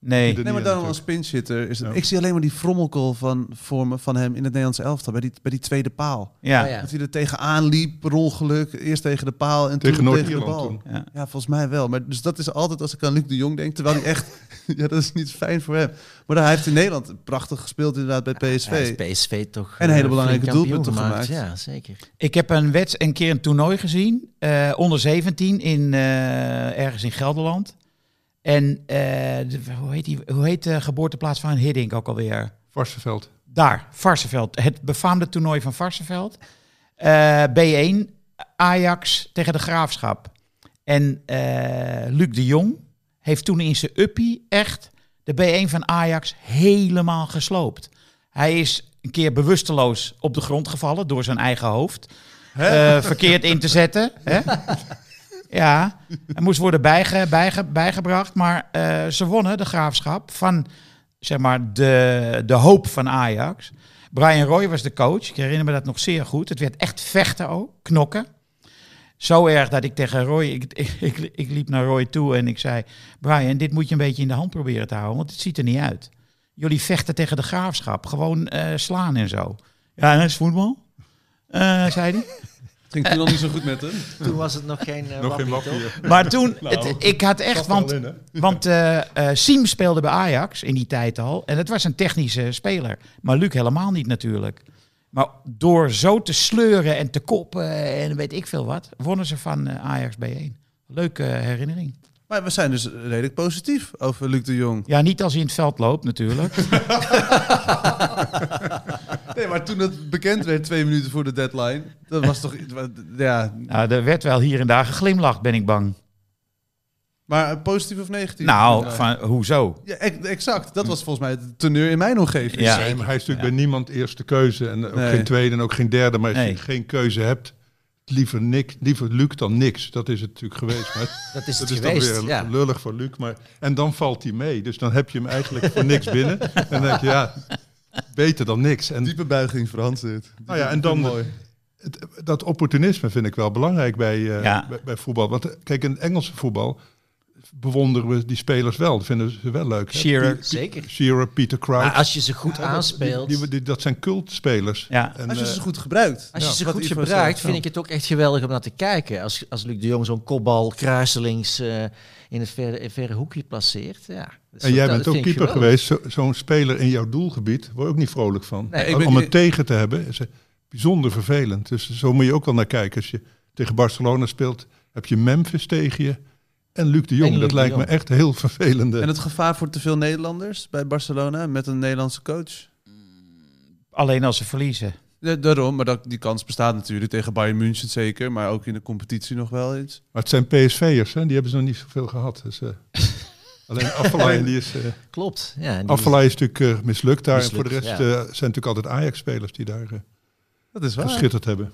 E: Nee.
A: doe
D: Nee, maar
A: niet
D: dan
A: aan
D: als pinchitter is het...
A: Ja.
D: Ik zie alleen maar die frommelkool van, voor me, van hem in het Nederlands elftal. Bij die, bij die tweede paal.
E: Ja.
B: Oh ja.
D: Dat hij er tegenaan liep, per ongeluk. Eerst tegen de paal en
A: Tegen
D: toen tegen de
A: Noord-Ierland
D: bal.
A: toen.
E: Ja.
D: Ja, volgens mij wel. Maar dus dat is altijd als ik aan Luc de Jong denk. Terwijl hij echt... (laughs) ja, dat is niet fijn voor hem. Maar hij heeft in Nederland prachtig gespeeld inderdaad
E: Ah,
D: bij PSV.
B: Hij is PSV toch
D: En hele
B: eh, flink
D: belangrijke
B: kampioen
D: doelpunten gemaakt.
B: Ja, zeker.
E: Ik heb een, wets, een keer een toernooi gezien, eh, onder 17, in, eh, ergens in Gelderland. En eh, de- hoe, heet die, hoe heet de geboorteplaats van Hiddink ook alweer?
A: Varsenveld.
E: Daar, Varsenveld. Het befaamde toernooi van Varsenveld. Eh, B1, Ajax tegen de Graafschap. En eh, Luc de Jong heeft toen in zijn uppie echt de B1 van Ajax helemaal gesloopt. Hij is een keer bewusteloos op de grond gevallen door zijn eigen hoofd. Eh, verkeerd in te zetten. Hè? Ja, hij moest worden bijge, bijge, bijgebracht. Maar eh, ze wonnen de graafschap van zeg maar, de, de hoop van Ajax. Brian Roy was de coach. Ik herinner me dat nog zeer goed. Het werd echt vechten ook, knokken. Zo erg dat ik tegen Roy, ik, ik, ik, ik liep naar Roy toe en ik zei... Brian, dit moet je een beetje in de hand proberen te houden, want het ziet er niet uit. Jullie vechten tegen de graafschap, gewoon eh, slaan en zo. Ja, dat is voetbal, eh, zei hij.
D: Het ging toen al niet zo goed met hem.
B: (laughs) Toen was het nog geen eh,
A: Nog geen
B: wappie, toch?
A: maffie.
E: Maar toen, het- ik had echt,
A: Past er wel
E: want
A: in, hè?
E: Want eh eh, Siem speelde bij Ajax in die tijd al. En het was een technische speler. Maar Luc helemaal niet natuurlijk. Maar door zo te sleuren en te koppen en weet ik veel wat, wonnen ze van eh, Ajax B1. Leuke eh, herinnering.
D: Maar we zijn dus redelijk positief over Luc de Jong.
E: Ja, niet als hij in het veld loopt natuurlijk.
D: Nee, maar toen het bekend werd, twee minuten voor de deadline, dat was toch... (laughs) Ja,
E: nou, er werd wel hier en daar geglimlacht, ben ik bang.
D: maar positief of negatief?
E: Nou, van, hoezo?
D: Ja, ex- exact. Dat was volgens mij het teneur in mijn omgeving.
E: Ja.
A: Nee, maar hij is natuurlijk
E: Ja.
A: bij niemand eerste keuze. En ook
D: Nee.
A: geen tweede en ook geen derde. Maar als
E: Nee.
A: je geen keuze hebt, liever, niks, liever Luc dan niks. Dat is het natuurlijk geweest. Maar
B: Dat is het
A: dat is dan
B: geweest,
A: weer
B: ja.
A: lullig voor Luc. Maar, en dan valt hij mee. Dus dan heb je hem eigenlijk voor niks binnen. En dan denk je, ja, beter dan niks. En
D: Diepe buiging voor Hans dit.
A: Nou ja, en dan-
D: Mooi.
A: het- dat opportunisme vind ik wel belangrijk bij, eh,
E: Ja.
A: bij, bij voetbal. Want eh, kijk, in het Engelse voetbal bewonderen we die spelers wel. Dat vinden ze wel leuk. hè?
E: Shearer.
A: Pie-
B: Zeker.
A: Shearer, Peter
B: Maar
A: Crouch.
B: als je ze goed aanspeelt,
A: Die, die- dat zijn cultspelers.
E: Ja.
A: En,
D: Als je
A: eh,
D: ze goed gebruikt.
B: als je
A: Ja,
B: ze
D: wat
B: goed
D: Ivo
B: gebruikt,
D: zegt,
B: vind
D: ja.
B: ik het ook echt geweldig om naar te kijken. Als, als Luc de Jong zo'n kopbal kruiselings eh, in het verre, in het verre hoekje placeert. Ja. Dat is
A: en jij
B: fantastisch.
A: bent
B: Dat
A: ook
B: vind ik
A: keeper
B: geweldig.
A: geweest. Zo- Zo'n speler in jouw doelgebied word je ook niet vrolijk van.
B: Nee,
D: ik ben-
A: Om
D: ik-
A: het tegen te hebben is eh, bijzonder vervelend. Dus zo moet je ook wel naar kijken. Als je tegen Barcelona speelt, heb je Memphis tegen je. En Luc de Jong,
B: En Luc
A: dat
B: de
A: lijkt
B: Jong.
A: me echt heel vervelende.
D: En het gevaar voor te veel Nederlanders bij Barcelona met een Nederlandse coach.
E: Alleen als ze verliezen.
D: Ja, daarom, maar dat, die kans bestaat natuurlijk tegen Bayern München zeker, maar ook in de competitie nog wel eens.
A: Maar het zijn PSV'ers, hè? die hebben ze nog niet zoveel gehad. Dus, eh, alleen Affelay, die is, eh
B: Klopt. Ja, die-
A: Affelay is natuurlijk eh, mislukt daar. en
B: Mislukt,
A: voor de rest
B: ja.
A: eh, zijn natuurlijk altijd Ajax-spelers die daar eh,
D: Dat is waar.
A: geschitterd hebben.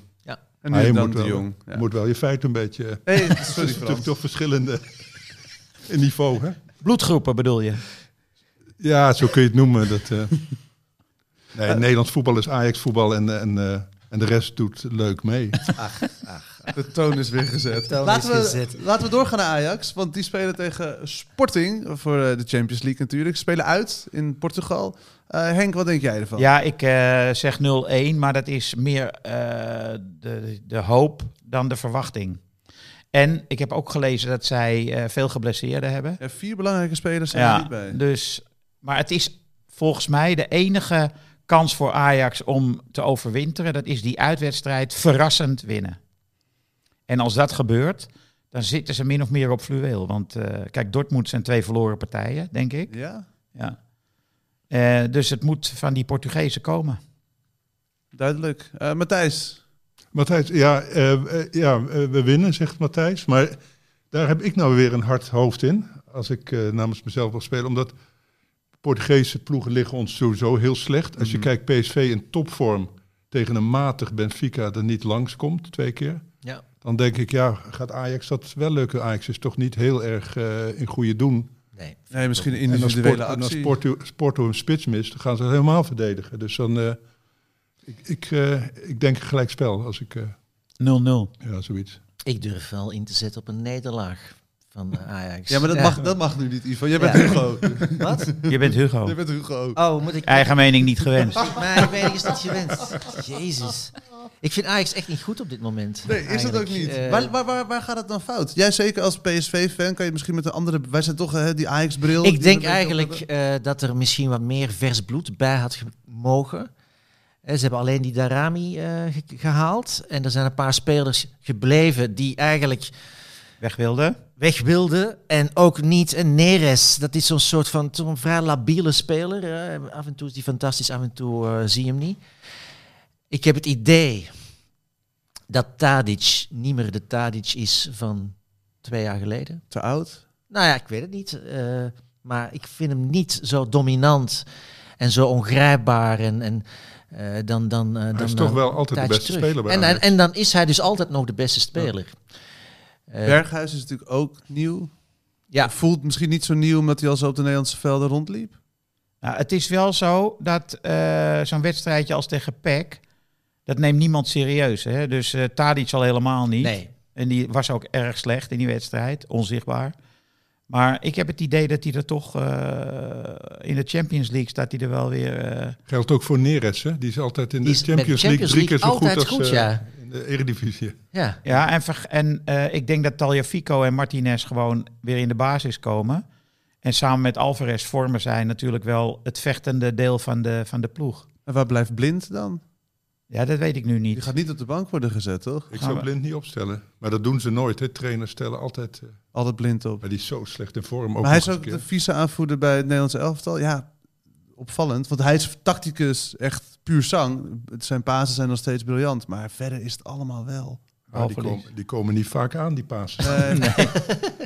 D: En
A: Maar
D: nu
A: je
D: dan
A: moet
D: de
A: wel-
D: jong. Ja.
A: Moet wel je feit een beetje... eh,
D: Hey, (laughs)
A: Het
D: sorry
A: is natuurlijk
D: Frans.
A: toch verschillende (laughs) in niveau, hè?
E: Bloedgroepen bedoel je?
A: Ja, zo kun je het noemen. Dat, eh. nee, Nederlands voetbal is Ajax voetbal en, eh, en, eh, en de rest doet leuk mee.
D: De toon is weer gezet.
B: toon
D: laten,
B: is
D: we,
B: gezet.
D: laten we doorgaan naar Ajax. Want die spelen tegen Sporting voor eh, de Champions League natuurlijk. Ze spelen uit in Portugal. Eh, Henk, wat denk jij ervan?
E: Ja, ik eh, zeg 0-1, maar dat is meer eh, de, de hoop dan de verwachting. En ik heb ook gelezen dat zij eh, veel geblesseerden hebben.
D: Ja, vier belangrijke spelers zijn er niet bij.
E: dus, maar het is volgens mij de enige kans voor Ajax om te overwinteren. Dat is die uitwedstrijd verrassend winnen. En als dat gebeurt, dan zitten ze min of meer op fluweel. Want eh, kijk, Dortmund zijn twee verloren partijen, denk ik.
D: Ja?
E: Ja. Eh, dus het moet van die Portugezen komen.
D: Duidelijk. Eh, Matthijs.
A: Matthijs, ja, eh, eh, ja eh, we winnen, zegt Matthijs. Maar daar heb ik nou weer een hard hoofd in. Als ik eh, namens mezelf wil spelen. Omdat Portugese ploegen liggen ons sowieso heel slecht.
D: Mhm.
A: Als je kijkt PSV in topvorm tegen een matig Benfica dat niet langskomt, twee keer.
B: Ja.
A: Dan denk ik, ja, gaat Ajax dat wel lukken? Ajax is toch niet heel erg eh, in goede doen.
B: Nee.
D: Nee, misschien een
A: En als,
D: individuele
A: Porto, en als
D: actie.
A: Porto, Porto een spits mist, dan gaan ze het helemaal verdedigen. Dus dan, eh, ik, ik, eh, ik denk gelijk spel als ik, eh,
E: 0-0.
A: ja, zoiets.
B: Ik durf wel in te zetten op een nederlaag van eh, Ajax.
D: Ja, maar dat, Mag, dat mag nu niet, Ivo. Jij bent
B: Ja.
D: Hugo.
B: (laughs) Wat?
E: Je bent
D: Jij
E: Hugo.
D: bent Hugo.
B: Oh, moet ik...
E: Eigen mening niet gewenst.
B: Maar ik ben is niet gewend. Jezus. Ik vind Ajax echt niet goed op dit moment.
D: Nee, is dat ook
B: eigenlijk.
D: niet.
B: Eh,
D: waar, waar, waar, waar gaat het dan fout? Jij zeker als PSV-fan kan je misschien met een andere... Wij zijn toch eh, die Ajax-bril. die
B: Ik
D: we
B: denk
D: een beetje op
B: eigenlijk eh, dat er misschien wat meer vers bloed bij had ge- mogen. Eh, ze hebben alleen die Darami eh, ge- gehaald. En er zijn een paar spelers gebleven die eigenlijk
E: Weg wilde.
B: weg wilden. En ook niet. En Neres, dat is zo'n soort van toch een vrij labiele speler. eh. af en toe is die fantastisch, af en toe eh, zie je hem niet. Ik heb het idee dat Tadic niet meer de Tadic is van twee jaar geleden.
D: hebben. Te oud.
B: Nou ja, ik weet het niet. eh, maar ik vind hem niet zo dominant en zo ongrijpbaar. En, en, eh, dan, dan, eh,
A: Hij
B: dan,
A: is toch
B: eh,
A: wel altijd de
B: tijdje
A: beste
B: terug.
A: speler bij
B: en, en,
A: Ajax.
B: en dan is hij dus altijd nog de beste speler. Eh,
D: Berghuis is natuurlijk ook nieuw.
B: ja,
D: Voelt misschien niet zo nieuw omdat hij al zo op de Nederlandse velden rondliep.
E: Nou, het is wel zo dat eh, zo'n wedstrijdje als tegen PEC, dat neemt niemand serieus. Hè? Dus eh Tadic al helemaal niet.
B: nee.
E: En die was ook erg slecht in die wedstrijd, onzichtbaar. Maar ik heb het idee dat hij er toch eh, in de Champions League staat hij er wel weer. eh,
A: Geldt ook voor Neres, hè? Die is altijd in de
B: Die is met de
A: Champions League
B: Champions
A: drie keer zo
B: League
A: goed als
B: altijd goed,
A: eh,
B: ja.
A: in de Eredivisie.
B: Ja.
E: ja, en, verg- en eh, ik denk dat Tagliafico en Martinez gewoon weer in de basis komen. En samen met Alvarez vormen zij natuurlijk wel het vechtende deel van de, van de ploeg.
D: En waar blijft Blind dan?
E: Ja, dat weet ik nu
D: Die
E: niet.
D: gaat niet op de bank worden gezet, toch?
A: Ik
E: Gaan
A: zou
E: we-
A: blind niet opstellen. Maar dat doen ze nooit, hè? Trainers stellen altijd... eh,
D: Altijd Blind op.
A: maar die is zo slecht in vorm. Ook
D: Maar hij
A: nog
D: is ook
A: eens een
D: de
A: keer.
D: vice-aanvoerder bij het Nederlands elftal. Ja, opvallend. Want hij is tacticus echt puur zang. Zijn pasen zijn nog steeds briljant. Maar verder is het allemaal wel.
A: Ah, die,
E: balverlies.
A: komen, die komen niet vaak aan, die paas.
B: (laughs)
D: Eh, (laughs)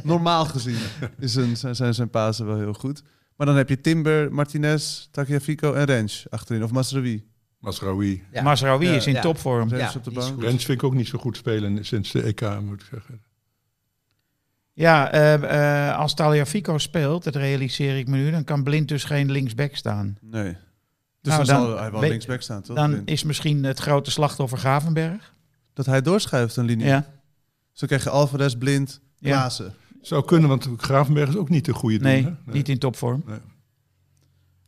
D: Normaal gezien is een, zijn, zijn zijn pasen wel heel goed. Maar dan heb je Timber, Martinez, Tagliafico en Rens achterin. Of Masraoui.
A: Masraoui.
B: Ja.
E: Masraoui
D: Ja,
E: is in
B: ja.
E: topvorm.
D: Rens
B: Ja,
D: op de
B: die is
D: bank.
B: goed.
A: Rens vind ik ook niet zo goed spelen sinds de EK, moet ik zeggen.
E: Ja, eh, eh, als Taliafico speelt, dat realiseer ik me nu, dan kan Blind dus geen linksback staan.
D: Nee. Dus
E: Nou,
D: dan,
E: dan
D: zal hij wel
E: weet-
D: linksback staan, toch?
E: Dan
D: Blind?
E: is misschien het grote slachtoffer Gravenberg.
D: Dat hij doorschuift een linie.
E: Ja,
D: Zo krijg je Alvarez, Blind,
E: Ja.
D: Klaassen.
A: Zou kunnen, want Gravenberg is ook niet de goede
E: nee,
A: doen, hè? Nee.
E: niet in topvorm.
A: Nee.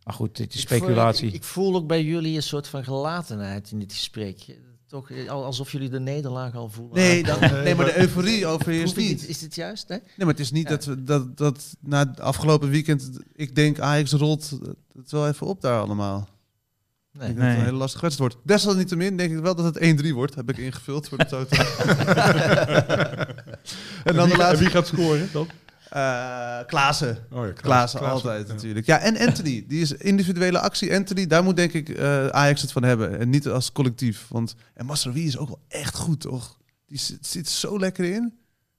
E: Maar goed, dit is
B: Ik voel-
E: speculatie.
B: Ik, ik voel ook bij jullie een soort van gelatenheid in dit gesprek. Toch eh, al- alsof jullie de nederlaag al voelen.
D: Nee, Eh, dat, (laughs)
B: Hoef
D: nee, maar de euforie overheerst
B: ik
D: niet.
B: niet. Is dit juist? Nee?
D: Nee, maar het is
B: Ja.
D: niet dat, we- dat, dat na het afgelopen weekend, ik denk Ajax rolt het wel even op daar allemaal.
B: Nee.
D: Ik denk dat het
E: Nee.
D: een hele lastige wedstrijd wordt. Desalniettemin denk ik wel dat het 1-3 wordt, heb ik ingevuld voor de totaal. (laughs) en dan
A: wie,
D: de
A: en
D: laatste,
A: wie gaat scoren dan?
D: eh Klaassen.
A: Oh ja, Klaas-
D: Klaassen
A: Klaas-
D: altijd
A: ja.
D: natuurlijk. Ja, en Anthony. Die is individuele actie. Anthony, daar moet denk ik eh, Ajax het van hebben. En niet als collectief. Want, en Masraoui is ook wel echt goed, toch? Die zit, zit zo lekker in.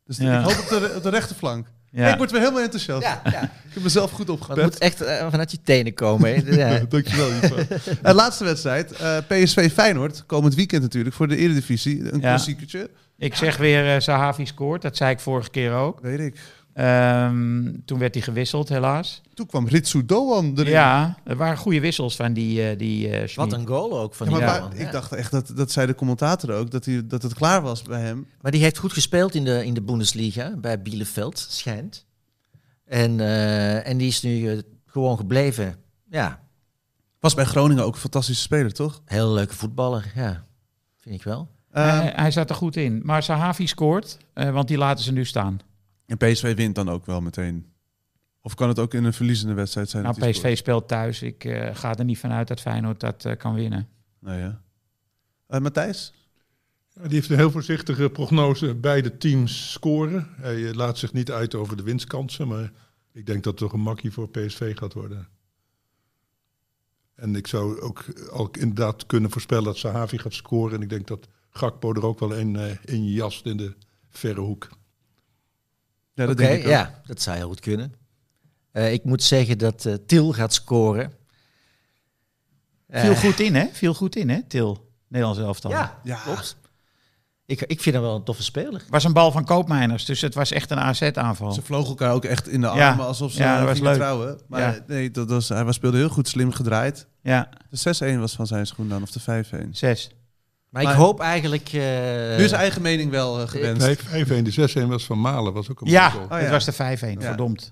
D: Dus
E: Ja.
D: ik hoop op de, op de rechterflank.
E: ja.
D: Ik word weer helemaal enthousiast.
B: Ja, ja.
D: Ik heb mezelf goed
B: Maar het
D: opgepet.
B: moet echt eh, vanuit je tenen komen. hè. Ja.
D: Dankjewel, Ivo. Eh, laatste wedstrijd. eh, PSV Feyenoord. Komend weekend natuurlijk voor de Eredivisie. Een
E: Ja.
D: klassiekertje.
E: Ik zeg weer, eh, Sahavi scoort. Dat zei ik vorige keer ook.
D: Weet ik.
E: Ehm, toen werd hij gewisseld, helaas.
D: Toen kwam Ritsu Doan erin.
E: Ja, er waren goede wissels van die, eh, die eh, Schmid.
B: Wat een goal ook van
D: Ja, maar
B: die
D: waar-
B: man.
D: ik dacht echt dat, dat zei de commentator ook, dat, hij, dat het klaar was bij hem.
B: Maar die heeft goed gespeeld in de, in de Bundesliga bij Bielefeld, schijnt. En, eh, en die is nu eh, gewoon gebleven. Ja,
D: Was bij Groningen ook een fantastische speler, toch?
B: heel leuke voetballer. Ja, vind ik wel.
D: Ehm,
E: hij, hij zat er goed in. Maar Sahavi scoort, eh, want die laten ze nu staan.
D: en PSV wint dan ook wel meteen. Of kan het ook in een verliezende wedstrijd zijn?
E: Nou,
D: dat hij scoort?
E: PSV speelt thuis. Ik eh, ga er niet vanuit dat Feyenoord dat eh, kan winnen.
D: Nee, ja. Eh, Matthijs?
A: Ja, die heeft een heel voorzichtige prognose. Beide teams scoren. Hij eh, laat zich niet uit over de winstkansen, maar ik denk dat het toch een makkie voor PSV gaat worden. En ik zou ook, ook inderdaad kunnen voorspellen dat Sahavi gaat scoren. En ik denk dat Gakpo er ook wel een, eh, een jast in de verre hoek.
D: Ja, dat
B: Oké,
D: denk ik ook.
B: ja, dat zou heel goed kunnen. Eh, ik moet zeggen dat eh, Til gaat scoren. Eh,
E: Viel goed in, hè? Viel goed in, hè, Til? Nederlands elftal.
B: Ja,
D: Ja.
B: klopt. Ik, ik vind hem wel een toffe speler.
E: Was een bal van Koopmeiners, dus het was echt een AZ-aanval.
D: Ze vlogen elkaar ook echt in de armen
E: Ja.
D: alsof ze
E: Ja, dat
D: eh,
E: was
D: gingen
E: leuk.
D: trouwen. Maar
E: Ja.
D: nee, dat was, hij was, speelde heel goed, slim gedraaid.
E: Ja,
D: De 6-1 was van zijn schoen dan, of de 5-1.
E: zes.
B: Maar,
D: Maar-
B: ik hoop eigenlijk... eh,
D: nu is eigen mening wel eh, gewenst.
A: Nee, 5-1, de 6-1 was van Malen. was ook een
E: Ja,
A: mooie goal.
D: Oh, ja.
E: het was de 5-1, verdomd.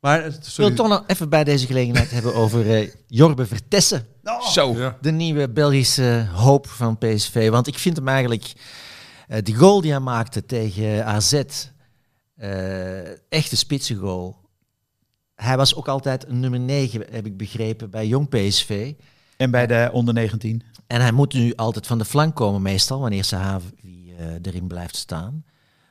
D: Maar, eh,
B: Ik wil
D: sorry.
B: het toch nog even bij deze gelegenheid (laughs) hebben over eh, Jorbe Vertessen.
E: Zo.
A: Ja.
B: De nieuwe Belgische eh, hoop van PSV. Want ik vind hem eigenlijk... eh, die goal die hij maakte tegen AZ... eh, echte spitsengoal. Hij was ook altijd een nummer 9, heb ik begrepen, bij jong PSV.
E: En bij de onder 19.
B: En hij moet nu altijd van de flank komen meestal, wanneer Sahavi eh erin blijft staan.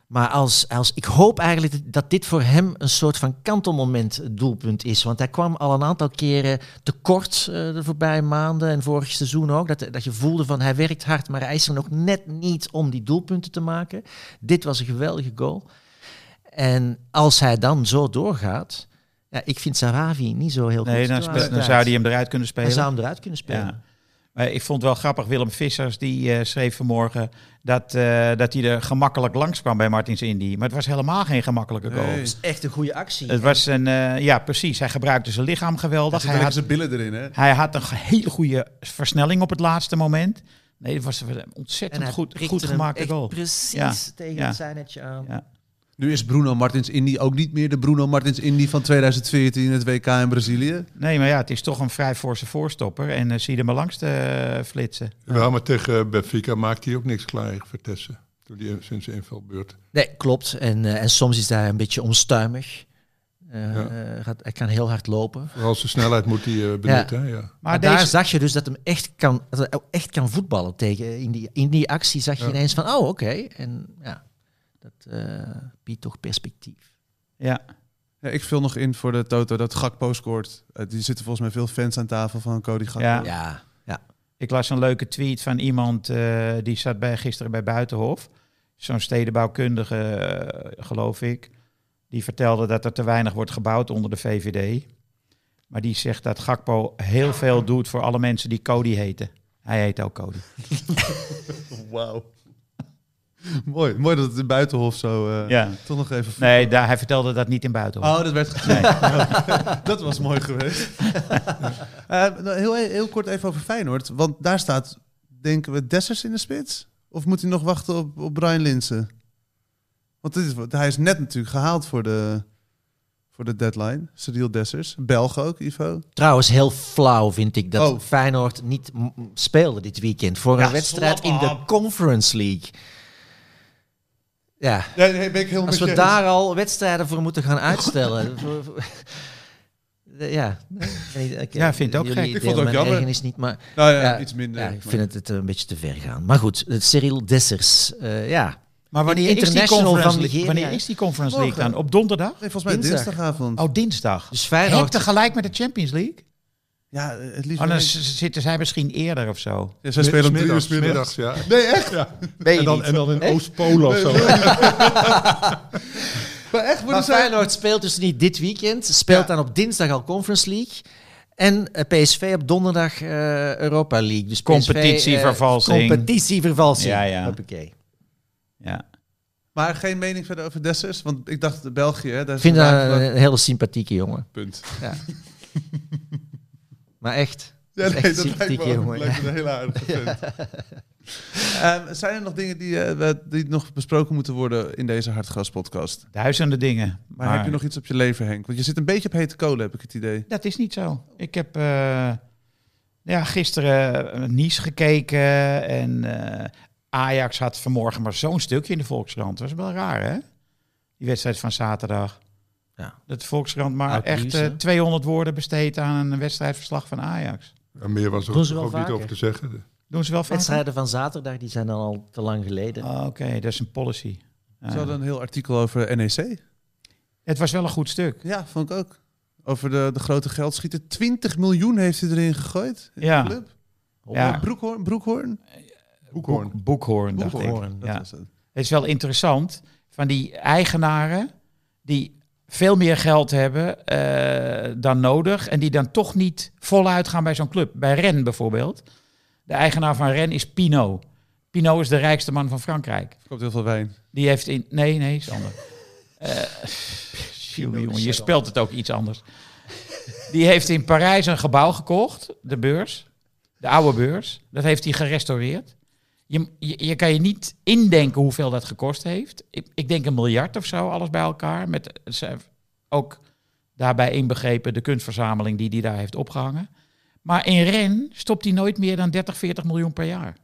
B: Maar als, als, ik hoop eigenlijk dat- dat dit voor hem een soort van kantelmoment doelpunt is. Want hij kwam al een aantal keren tekort eh, de voorbije maanden en vorig seizoen ook. Dat, dat je voelde van hij werkt hard, maar hij is er nog net niet om die doelpunten te maken. Dit was een geweldige goal. En als hij dan zo doorgaat, ja, ik vind Sahavi niet zo heel
E: Nee,
B: goed.
E: dan,
B: te
E: spe- dan zou hij hem eruit kunnen
B: hij zou
E: spelen.
B: hem eruit kunnen spelen.
E: Ja. Maar ik vond wel grappig, Willem Vissers die eh, schreef vanmorgen dat, eh, dat hij er gemakkelijk langs kwam bij Martins Indy. Maar het was helemaal geen gemakkelijke goal.
D: Nee.
B: Dat is echt een goede actie.
E: Het was een, eh, ja precies, hij gebruikte zijn lichaam geweldig. Hij
D: Hij had
E: had,
D: zijn billen erin, hè?
E: hij had een ge- hele goede versnelling op het laatste moment. Nee, dat was een
B: En
E: ontzettend
B: hij
E: goed,
B: prikte
E: goed
B: hem
E: gemaakte
B: echt
E: goal.
B: Precies
E: Ja,
B: tegen
E: ja.
B: het zijnetje aan.
E: Ja.
D: Nu is Bruno Martins Indy ook niet meer de Bruno Martins Indy van 2014 in het WK in Brazilië.
E: Nee, maar ja, het is toch een vrij forse voorstopper. En eh, zie je er maar langs te eh, flitsen.
A: Wel, maar tegen eh, Benfica maakt hij ook niks klaar voor Tessen. Toen die sinds de invalbeurt.
B: Nee, klopt. En, eh, en soms is hij een beetje onstuimig. Eh,
A: Ja.
B: eh, gaat, hij kan heel hard lopen. Maar,
A: Vooral zijn snelheid moet hij eh, benutten. Ja. Ja.
E: Maar,
B: daar
E: deze,
B: zag je dus dat, hem echt kan, dat hij ook echt kan voetballen. Tegen. In, die, in die actie zag je
A: Ja.
B: ineens van, oh oké. En ja, dat eh, biedt toch perspectief.
E: ja.
D: Ja, ik vul nog in voor de Toto dat Gakpo scoort. Eh, die zitten volgens mij veel fans aan tafel van Cody Gakpo.
E: Ja.
B: Ja, ja.
E: Ik las een leuke tweet van iemand eh, die zat bij, gisteren bij Buitenhof. Zo'n stedenbouwkundige, eh, geloof ik. Die vertelde dat er te weinig wordt gebouwd onder de VVD. Maar die zegt dat Gakpo heel veel doet voor alle mensen die Cody heten. Hij heet ook Cody.
D: Wauw. (laughs) mooi, mooi dat het in Buitenhof zo eh,
E: Ja.
D: toch nog even...
E: Nee, daar, hij vertelde dat niet in Buitenhof.
D: Oh, dat werd gezegd. (laughs) dat was mooi geweest. (laughs) Eh, nou, heel, heel kort even over Feyenoord. Want daar staat, denken we, Dessers in de spits? Of moet hij nog wachten op, op Brian Linsen? Want dit is, wat- hij is net natuurlijk gehaald voor de, voor de deadline. Cyril Dessers. Belg ook, Ivo.
B: Trouwens, heel flauw vind ik dat
D: Oh.
B: Feyenoord niet m- m- speelde dit weekend. Voor
D: Ja,
B: een wedstrijd
D: slap
B: in de
D: op.
B: Conference League. Ja,
D: Nee, nee, ben ik heel
B: Als we daar al wedstrijden voor moeten gaan uitstellen. Voor- voor- ja.
E: Ja, ik vind het ook gek.
D: Ik vond het ook jammer.
B: Is niet, maar,
D: Nou ja,
B: Ja,
D: iets minder.
B: ja, ik vind het, het een beetje te ver gaan. Maar goed, het Cyril Dessers. eh, ja.
E: maar wanneer is, die
B: International
E: conference
B: van
E: League-
B: Nigeria,
E: wanneer
B: hè?
E: is die Conference
D: Morgen.
E: League dan? Op donderdag?
D: Nee, volgens mij
B: Dinsdag.
D: dinsdagavond.
E: Oh, dinsdag.
B: Dus
E: Heb
B: Feyenoord...
E: tegelijk met de Champions League?
D: Ja, eh, het liefst.
E: Anders zitten zij misschien eerder of zo.
D: Ja, zij spelen om drie uur 's
A: middags.
D: middags.
A: Ja.
D: Nee, echt?
A: En, dan, en dan in Oost-Polen of zo.
D: Maar echt, worden
B: Maar
D: zij...
B: Feyenoord speelt dus niet dit weekend. Speelt
D: Ja.
B: dan op dinsdag al Conference League. En eh, PSV op donderdag eh, Europa League. Dus PSV, eh,
E: Competitievervalsing.
B: competitievervalsing.
E: Ja, ja.
B: Hoppakee.
E: Ja.
D: Maar geen mening verder over Dessers? Want ik dacht, België, hè, daar
B: Ik
D: is
B: vind eh, dat
D: vandaag wel-
B: een, een hele sympathieke jongen.
D: punt. (laughs)
B: Ja. maar echt.
D: Ja,
B: is
D: nee,
B: echt
D: dat lijkt
B: sympathieke
D: me ook
B: jongen,
D: lijkt me een hele aardige vent. Ehm, zijn er nog dingen die, eh, we- die nog besproken moeten worden in deze Hartgras-podcast?
E: Duizenden dingen.
D: Maar, heb je nog iets op je leven, Henk? Want je zit een beetje op hete kolen, heb ik het idee.
E: Dat is niet zo. Ik heb eh, ja, gisteren eh, Nice gekeken en eh, Ajax had vanmorgen maar zo'n stukje in de Volkskrant. Dat is wel raar, hè? Die wedstrijd van zaterdag.
B: Ja.
E: Dat de Volkskrant maar
B: Oud
E: echt
B: nieuws,
E: eh,
B: hè?
E: 200 woorden besteedt aan een wedstrijdverslag van Ajax.
A: Ja, meer was er
B: Doen ze
A: ook,
B: wel
A: niet
B: vaker.
A: over te zeggen.
E: Doen ze wel vaak?
B: Wedstrijden van zaterdag die zijn dan al te lang
D: Ah,
B: geleden.
E: Oké, dat is een policy. Ja.
D: Ze hadden een heel artikel over E NEC.
E: Het was wel een goed stuk.
D: Ja, vond ik ook. Over de, de grote geldschieter. 20 miljoen heeft hij erin gegooid. In
E: Ja.
D: de club.
E: Ja.
D: Broekhoorn, Broekhoorn?
A: Hoekhoorn.
E: Boek- Boekhoorn, dacht
B: Boekhoorn,
E: ik.
D: Dat
E: Ja.
D: was het.
E: Het is wel interessant van die eigenaren die veel meer geld hebben eh, dan nodig en die dan toch niet voluit gaan bij zo'n club. Bij Ren bijvoorbeeld. De eigenaar van Ren is Pino. Pino is de rijkste man van Frankrijk.
D: Verkoopt heel veel wijn.
E: Die heeft in. Nee, nee, is (laughs) ander. Eh, jongen, jongen, je spelt het ook iets anders. Die heeft in Parijs een gebouw gekocht, de beurs, de oude beurs. Dat heeft hij gerestaureerd. Je, je, je kan je niet indenken hoeveel dat gekost heeft. Ik, ik denk een miljard of zo, alles bij elkaar. Met eh, ze- ook daarbij inbegrepen de kunstverzameling die hij daar heeft opgehangen. Maar in Ren stopt hij nooit meer dan 30, 40 miljoen per jaar.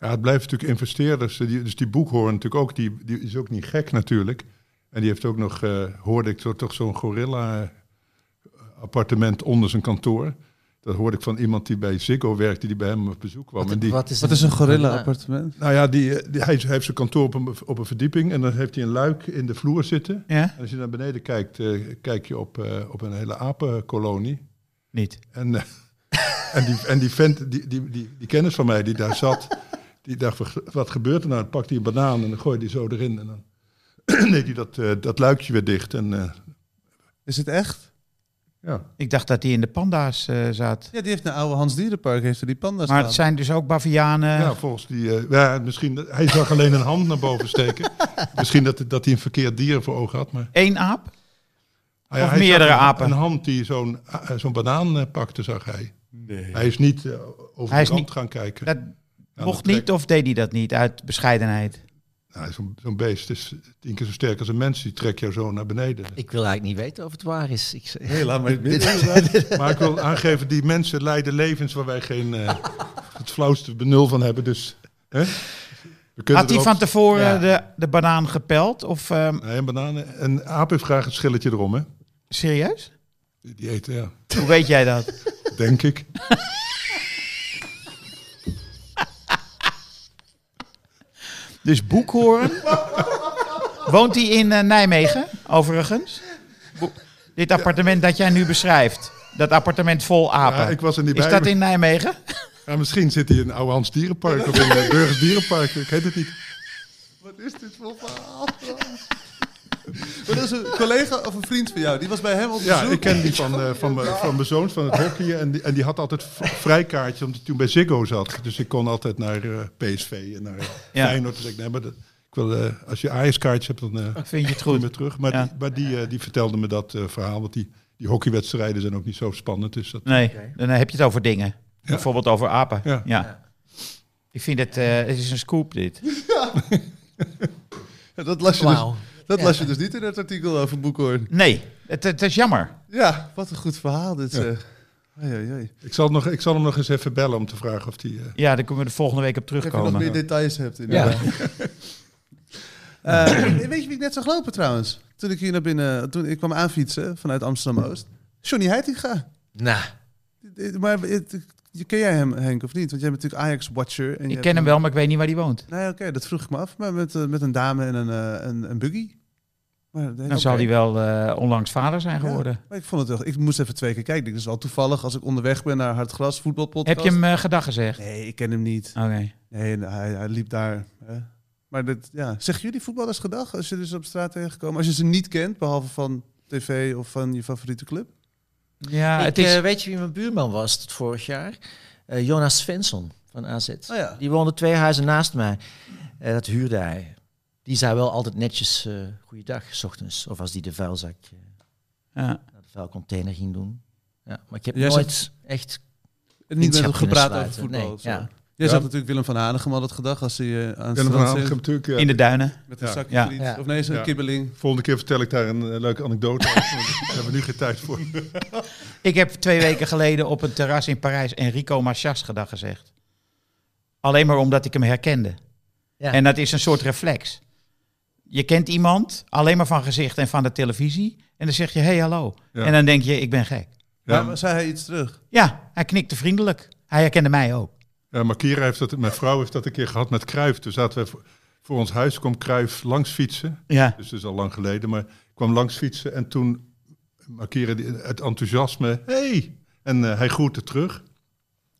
A: Ja, het blijft natuurlijk investeerders. eh, die- Dus die boekhoorn natuurlijk ook, die, die is ook niet gek natuurlijk. En die heeft ook nog, eh, hoorde ik toch, toch zo'n gorilla-appartement onder zijn kantoor. Dat hoorde ik van iemand die bij Ziggo werkte, die bij hem op bezoek kwam. en die,
D: Wat is een gorilla-appartement?
A: nou ja, die, eh, die- hij heeft zijn kantoor op een, op een verdieping en dan heeft hij een luik in de vloer zitten.
E: Ja?
A: En als je naar beneden kijkt, eh, kijk je op, eh, op een hele apenkolonie.
E: Niet.
A: En, eh, (laughs) en, die, en die vent, die, die, die, die kennis van mij die daar zat, die dacht, "Wat- wat gebeurt er nou? Dan pakt hij een banaan en dan gooit hij zo erin. En dan (clears throat) deed hij dat, eh, dat luikje weer dicht. En, eh,
D: Is het echt?
A: ja.
E: Ik dacht dat hij in de panda's eh, zat.
D: Ja, die heeft een oude Hans Dierenpark. Heeft er die panda's
E: Maar
D: staan.
E: het zijn dus ook bavianen.
A: ja, volgens die... eh, ja, misschien, hij zag alleen een hand naar boven
E: (laughs)
A: steken. misschien dat, dat hij een verkeerd dier voor ogen had. Maar,
E: Eén aap.
A: Ah ja,
E: Of
A: hij zag
E: meerdere
A: een,
E: apen.
A: Een hand die zo'n eh, zo'n banaan eh, pakte, zag hij. Hij is niet eh, over
E: Hij is
A: de kant
E: niet-
A: gaan kijken.
E: Dat
A: de
E: mocht
A: trek.
E: niet of deed hij dat niet uit bescheidenheid?
A: Nou, zo'n zo'n beest is tien keer zo sterk als een mens. Die trekt jou zo naar beneden.
B: Ik wil eigenlijk niet weten of het waar is. Ik, zeg-
D: Hey, laat maar in het midden.
A: Maar ik wil aangeven, die mensen leiden levens waar wij geen eh, het flauwste benul van hebben. Dus, hè? We kunnen
E: Had hij
A: er
E: van
A: ook-
E: tevoren
B: Ja.
E: de, de banaan gepeld? Of ehm,
A: Nee, een bananen. Een aap heeft graag een schilletje erom, hè?
E: serieus?
A: Die die eten, ja.
E: Hoe weet jij dat?
A: Denk ik.
E: Dus Boekhoorn. Woont hij in eh, Nijmegen, overigens? Bo- Dit appartement dat jij nu beschrijft. Dat appartement vol apen.
A: Ja, ik was er niet
E: Is
A: bij.
E: dat in Nijmegen?
A: Ja, misschien zit hij in Oude Hans Dierenpark of in eh, Burgers Dierenpark. Ik weet het niet.
D: Wat is dit voor verhaal? Maar dat is een collega of een vriend van jou. Die was bij hem op bezoek.
A: Ja, ik ken die van, eh, van, mijn- van mijn zoons van het hockey. En die, en die had altijd v- vrijkaartje, omdat hij toen bij Ziggo zat. Dus ik kon altijd naar eh, PSV en naar eh,
E: Ja.
A: Feyenoord. Dus ik, nee, maar dat, ik wil, eh, als je Ajax-kaartje hebt, dan... eh,
E: Vind je het
A: niet
E: goed?
A: meer terug. Maar,
E: Ja.
A: die, maar die, eh, die vertelde me dat eh, verhaal. Want die, die hockeywedstrijden zijn ook niet zo spannend. Dus dat,
E: Nee, dan heb je het over dingen. Bijvoorbeeld over apen. Ja.
A: Ja.
E: Ik vind het, eh, het is een scoop dit.
D: Ja, (laughs) dat las je,
B: Wauw.
D: dus, dat las je dus niet in dat artikel over Boekhoorn.
E: Nee, het, het is jammer.
D: Ja, wat een goed verhaal dit. zeg. Oei, oei, oei.
A: ik, zal nog, ik zal hem nog eens even bellen om te vragen of die... eh,
E: Ja, daar kunnen we de volgende week op
D: Of je nog
E: terugkomen.
D: meer details hebt.
B: Ja.
D: inderdaad. Eh, weet je wie ik net zag lopen trouwens? Toen ik hier naar binnen, toen ik kwam aanfietsen vanuit Amsterdam-Oost. Johnny Heitinga. Eh,
B: Nou,
D: Maar het- je- ken jij hem, Henk, of niet? Want jij bent natuurlijk Ajax-watcher. en je
E: Ik
D: hebt
E: ken hem wel, maar ik weet niet waar hij woont.
D: Nee, oké, dat vroeg ik me af. Maar met, eh, met een dame en een, eh, een, een buggy. Maar, dat-
E: Dan zal hij wel eh, onlangs vader zijn geworden.
D: Ja, maar ik vond het wel. Ik moest even twee keer kijken. Ik denk, Dat is wel toevallig als ik onderweg ben naar Hartgras voetbalpodcast.
E: Heb je hem eh, gedag gezegd?
D: Nee, ik ken hem niet.
E: Oké.
D: Nee, en hij, hij liep daar. Hè. Maar dat, ja. zeggen jullie voetballers gedag als je dus op straat tegenkomt? Als je ze niet kent, behalve van tv of van je favoriete club?
E: Ja,
B: ik,
E: het is...
B: eh, weet je wie mijn buurman was tot vorig jaar? Eh, Jonas Svensson van AZ.
D: Oh ja.
B: Die woonde twee huizen naast mij. Eh, dat huurde hij. Die zei wel altijd netjes eh goeiedag, s ochtends. Of als die de vuilzak eh,
E: ja.
B: naar de vuilcontainer ging doen. Ja, maar ik heb
D: Jij
B: nooit echt...
D: En niet met hem
B: Vriendschap kunnen
D: gepraat over
B: sluiten.
D: voetbal.
B: Nee,
D: of zo.
B: ja.
D: Jij
A: Ja.
D: zag natuurlijk Willem van Hanegem al dat gedag als hij eh, aan het
A: Willem van
D: strand
A: Hanegem
D: zit
A: natuurlijk. eh,
E: In de duinen.
D: Met een
A: Ja.
D: zakje
E: Ja.
D: friet.
B: Ja.
D: Of nee, zo'n
A: Ja.
D: kibbeling.
A: Volgende keer vertel ik daar een eh, leuke anekdote over. want Daar hebben we nu geen tijd
E: (laughs)
A: voor.
E: Ik heb twee weken geleden op een terras in Parijs Enrico Machas gedag gezegd. Alleen maar omdat ik hem herkende.
B: Ja.
E: En dat is een soort reflex. Je kent iemand alleen maar van gezicht en van de televisie. En dan zeg je, hey, hallo.
A: Ja.
E: En dan denk je, ik ben gek.
A: Ja,
D: Maar
A: maar,
D: zei hij iets terug?
E: Ja, hij knikte vriendelijk. Hij herkende mij ook.
A: ja, maar Kira heeft dat, mijn vrouw heeft dat een keer gehad met Kruif. Toen zaten we voor, voor ons huis, kwam Kruif langs fietsen.
E: Ja.
A: Dus dat is al lang geleden. Maar ik kwam langs fietsen en toen markeren die- het enthousiasme. Hey! En eh, hij groette terug.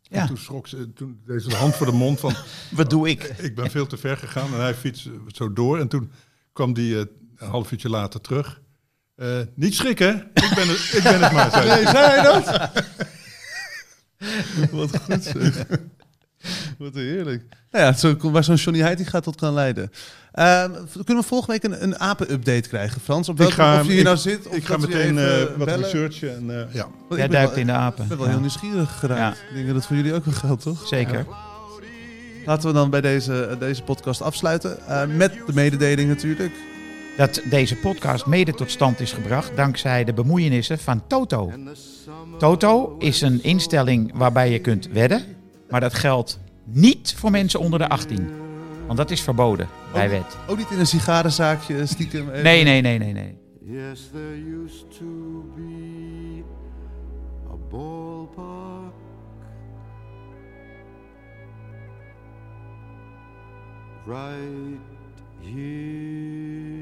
E: Ja.
A: En toen schrok ze, toen deed ze de hand voor de mond van,
B: Wat doe ik?
A: ik ben veel te ver gegaan. En hij fietste zo door. En toen kwam die eh, een half uurtje later terug. Eh, niet schrikken, ik ben het, ik ben het maar. zei hij.
D: (laughs) Wat goed zeg. Wat heerlijk. Nou ja, zo, waar zo'n Johnny Heitinga tot kan leiden. Ehm, v- kunnen we volgende week een, een apen-update krijgen, Frans? Op welke,
A: ga-
D: of je hier
A: ik-
D: nou zit? Of
A: Ik ga
D: dat we je
A: meteen
D: even
A: eh, wat
D: bellen?
A: researchen. En, eh, ja.
D: Want
E: Jij
D: ik ben
E: duikt
D: wel,
E: in de
D: ik
E: apen.
D: ben wel
E: Ja,
D: heel nieuwsgierig geraakt. Ik denk dat dat voor jullie ook wel geldt, toch?
E: Zeker.
D: Laten we dan bij deze, eh, deze podcast afsluiten. Eh, met de mededeling natuurlijk.
E: Dat deze podcast mede tot stand is gebracht dankzij de bemoeienissen van Toto. Toto is een instelling waarbij je kunt wedden, maar dat geldt niet voor mensen onder de 18. Want dat is verboden bij wet.
D: Ook niet in een sigarenzaakje stiekem. even-
E: Nee, nee, nee, nee, nee.
C: Yes, there used to be a ballpark right here.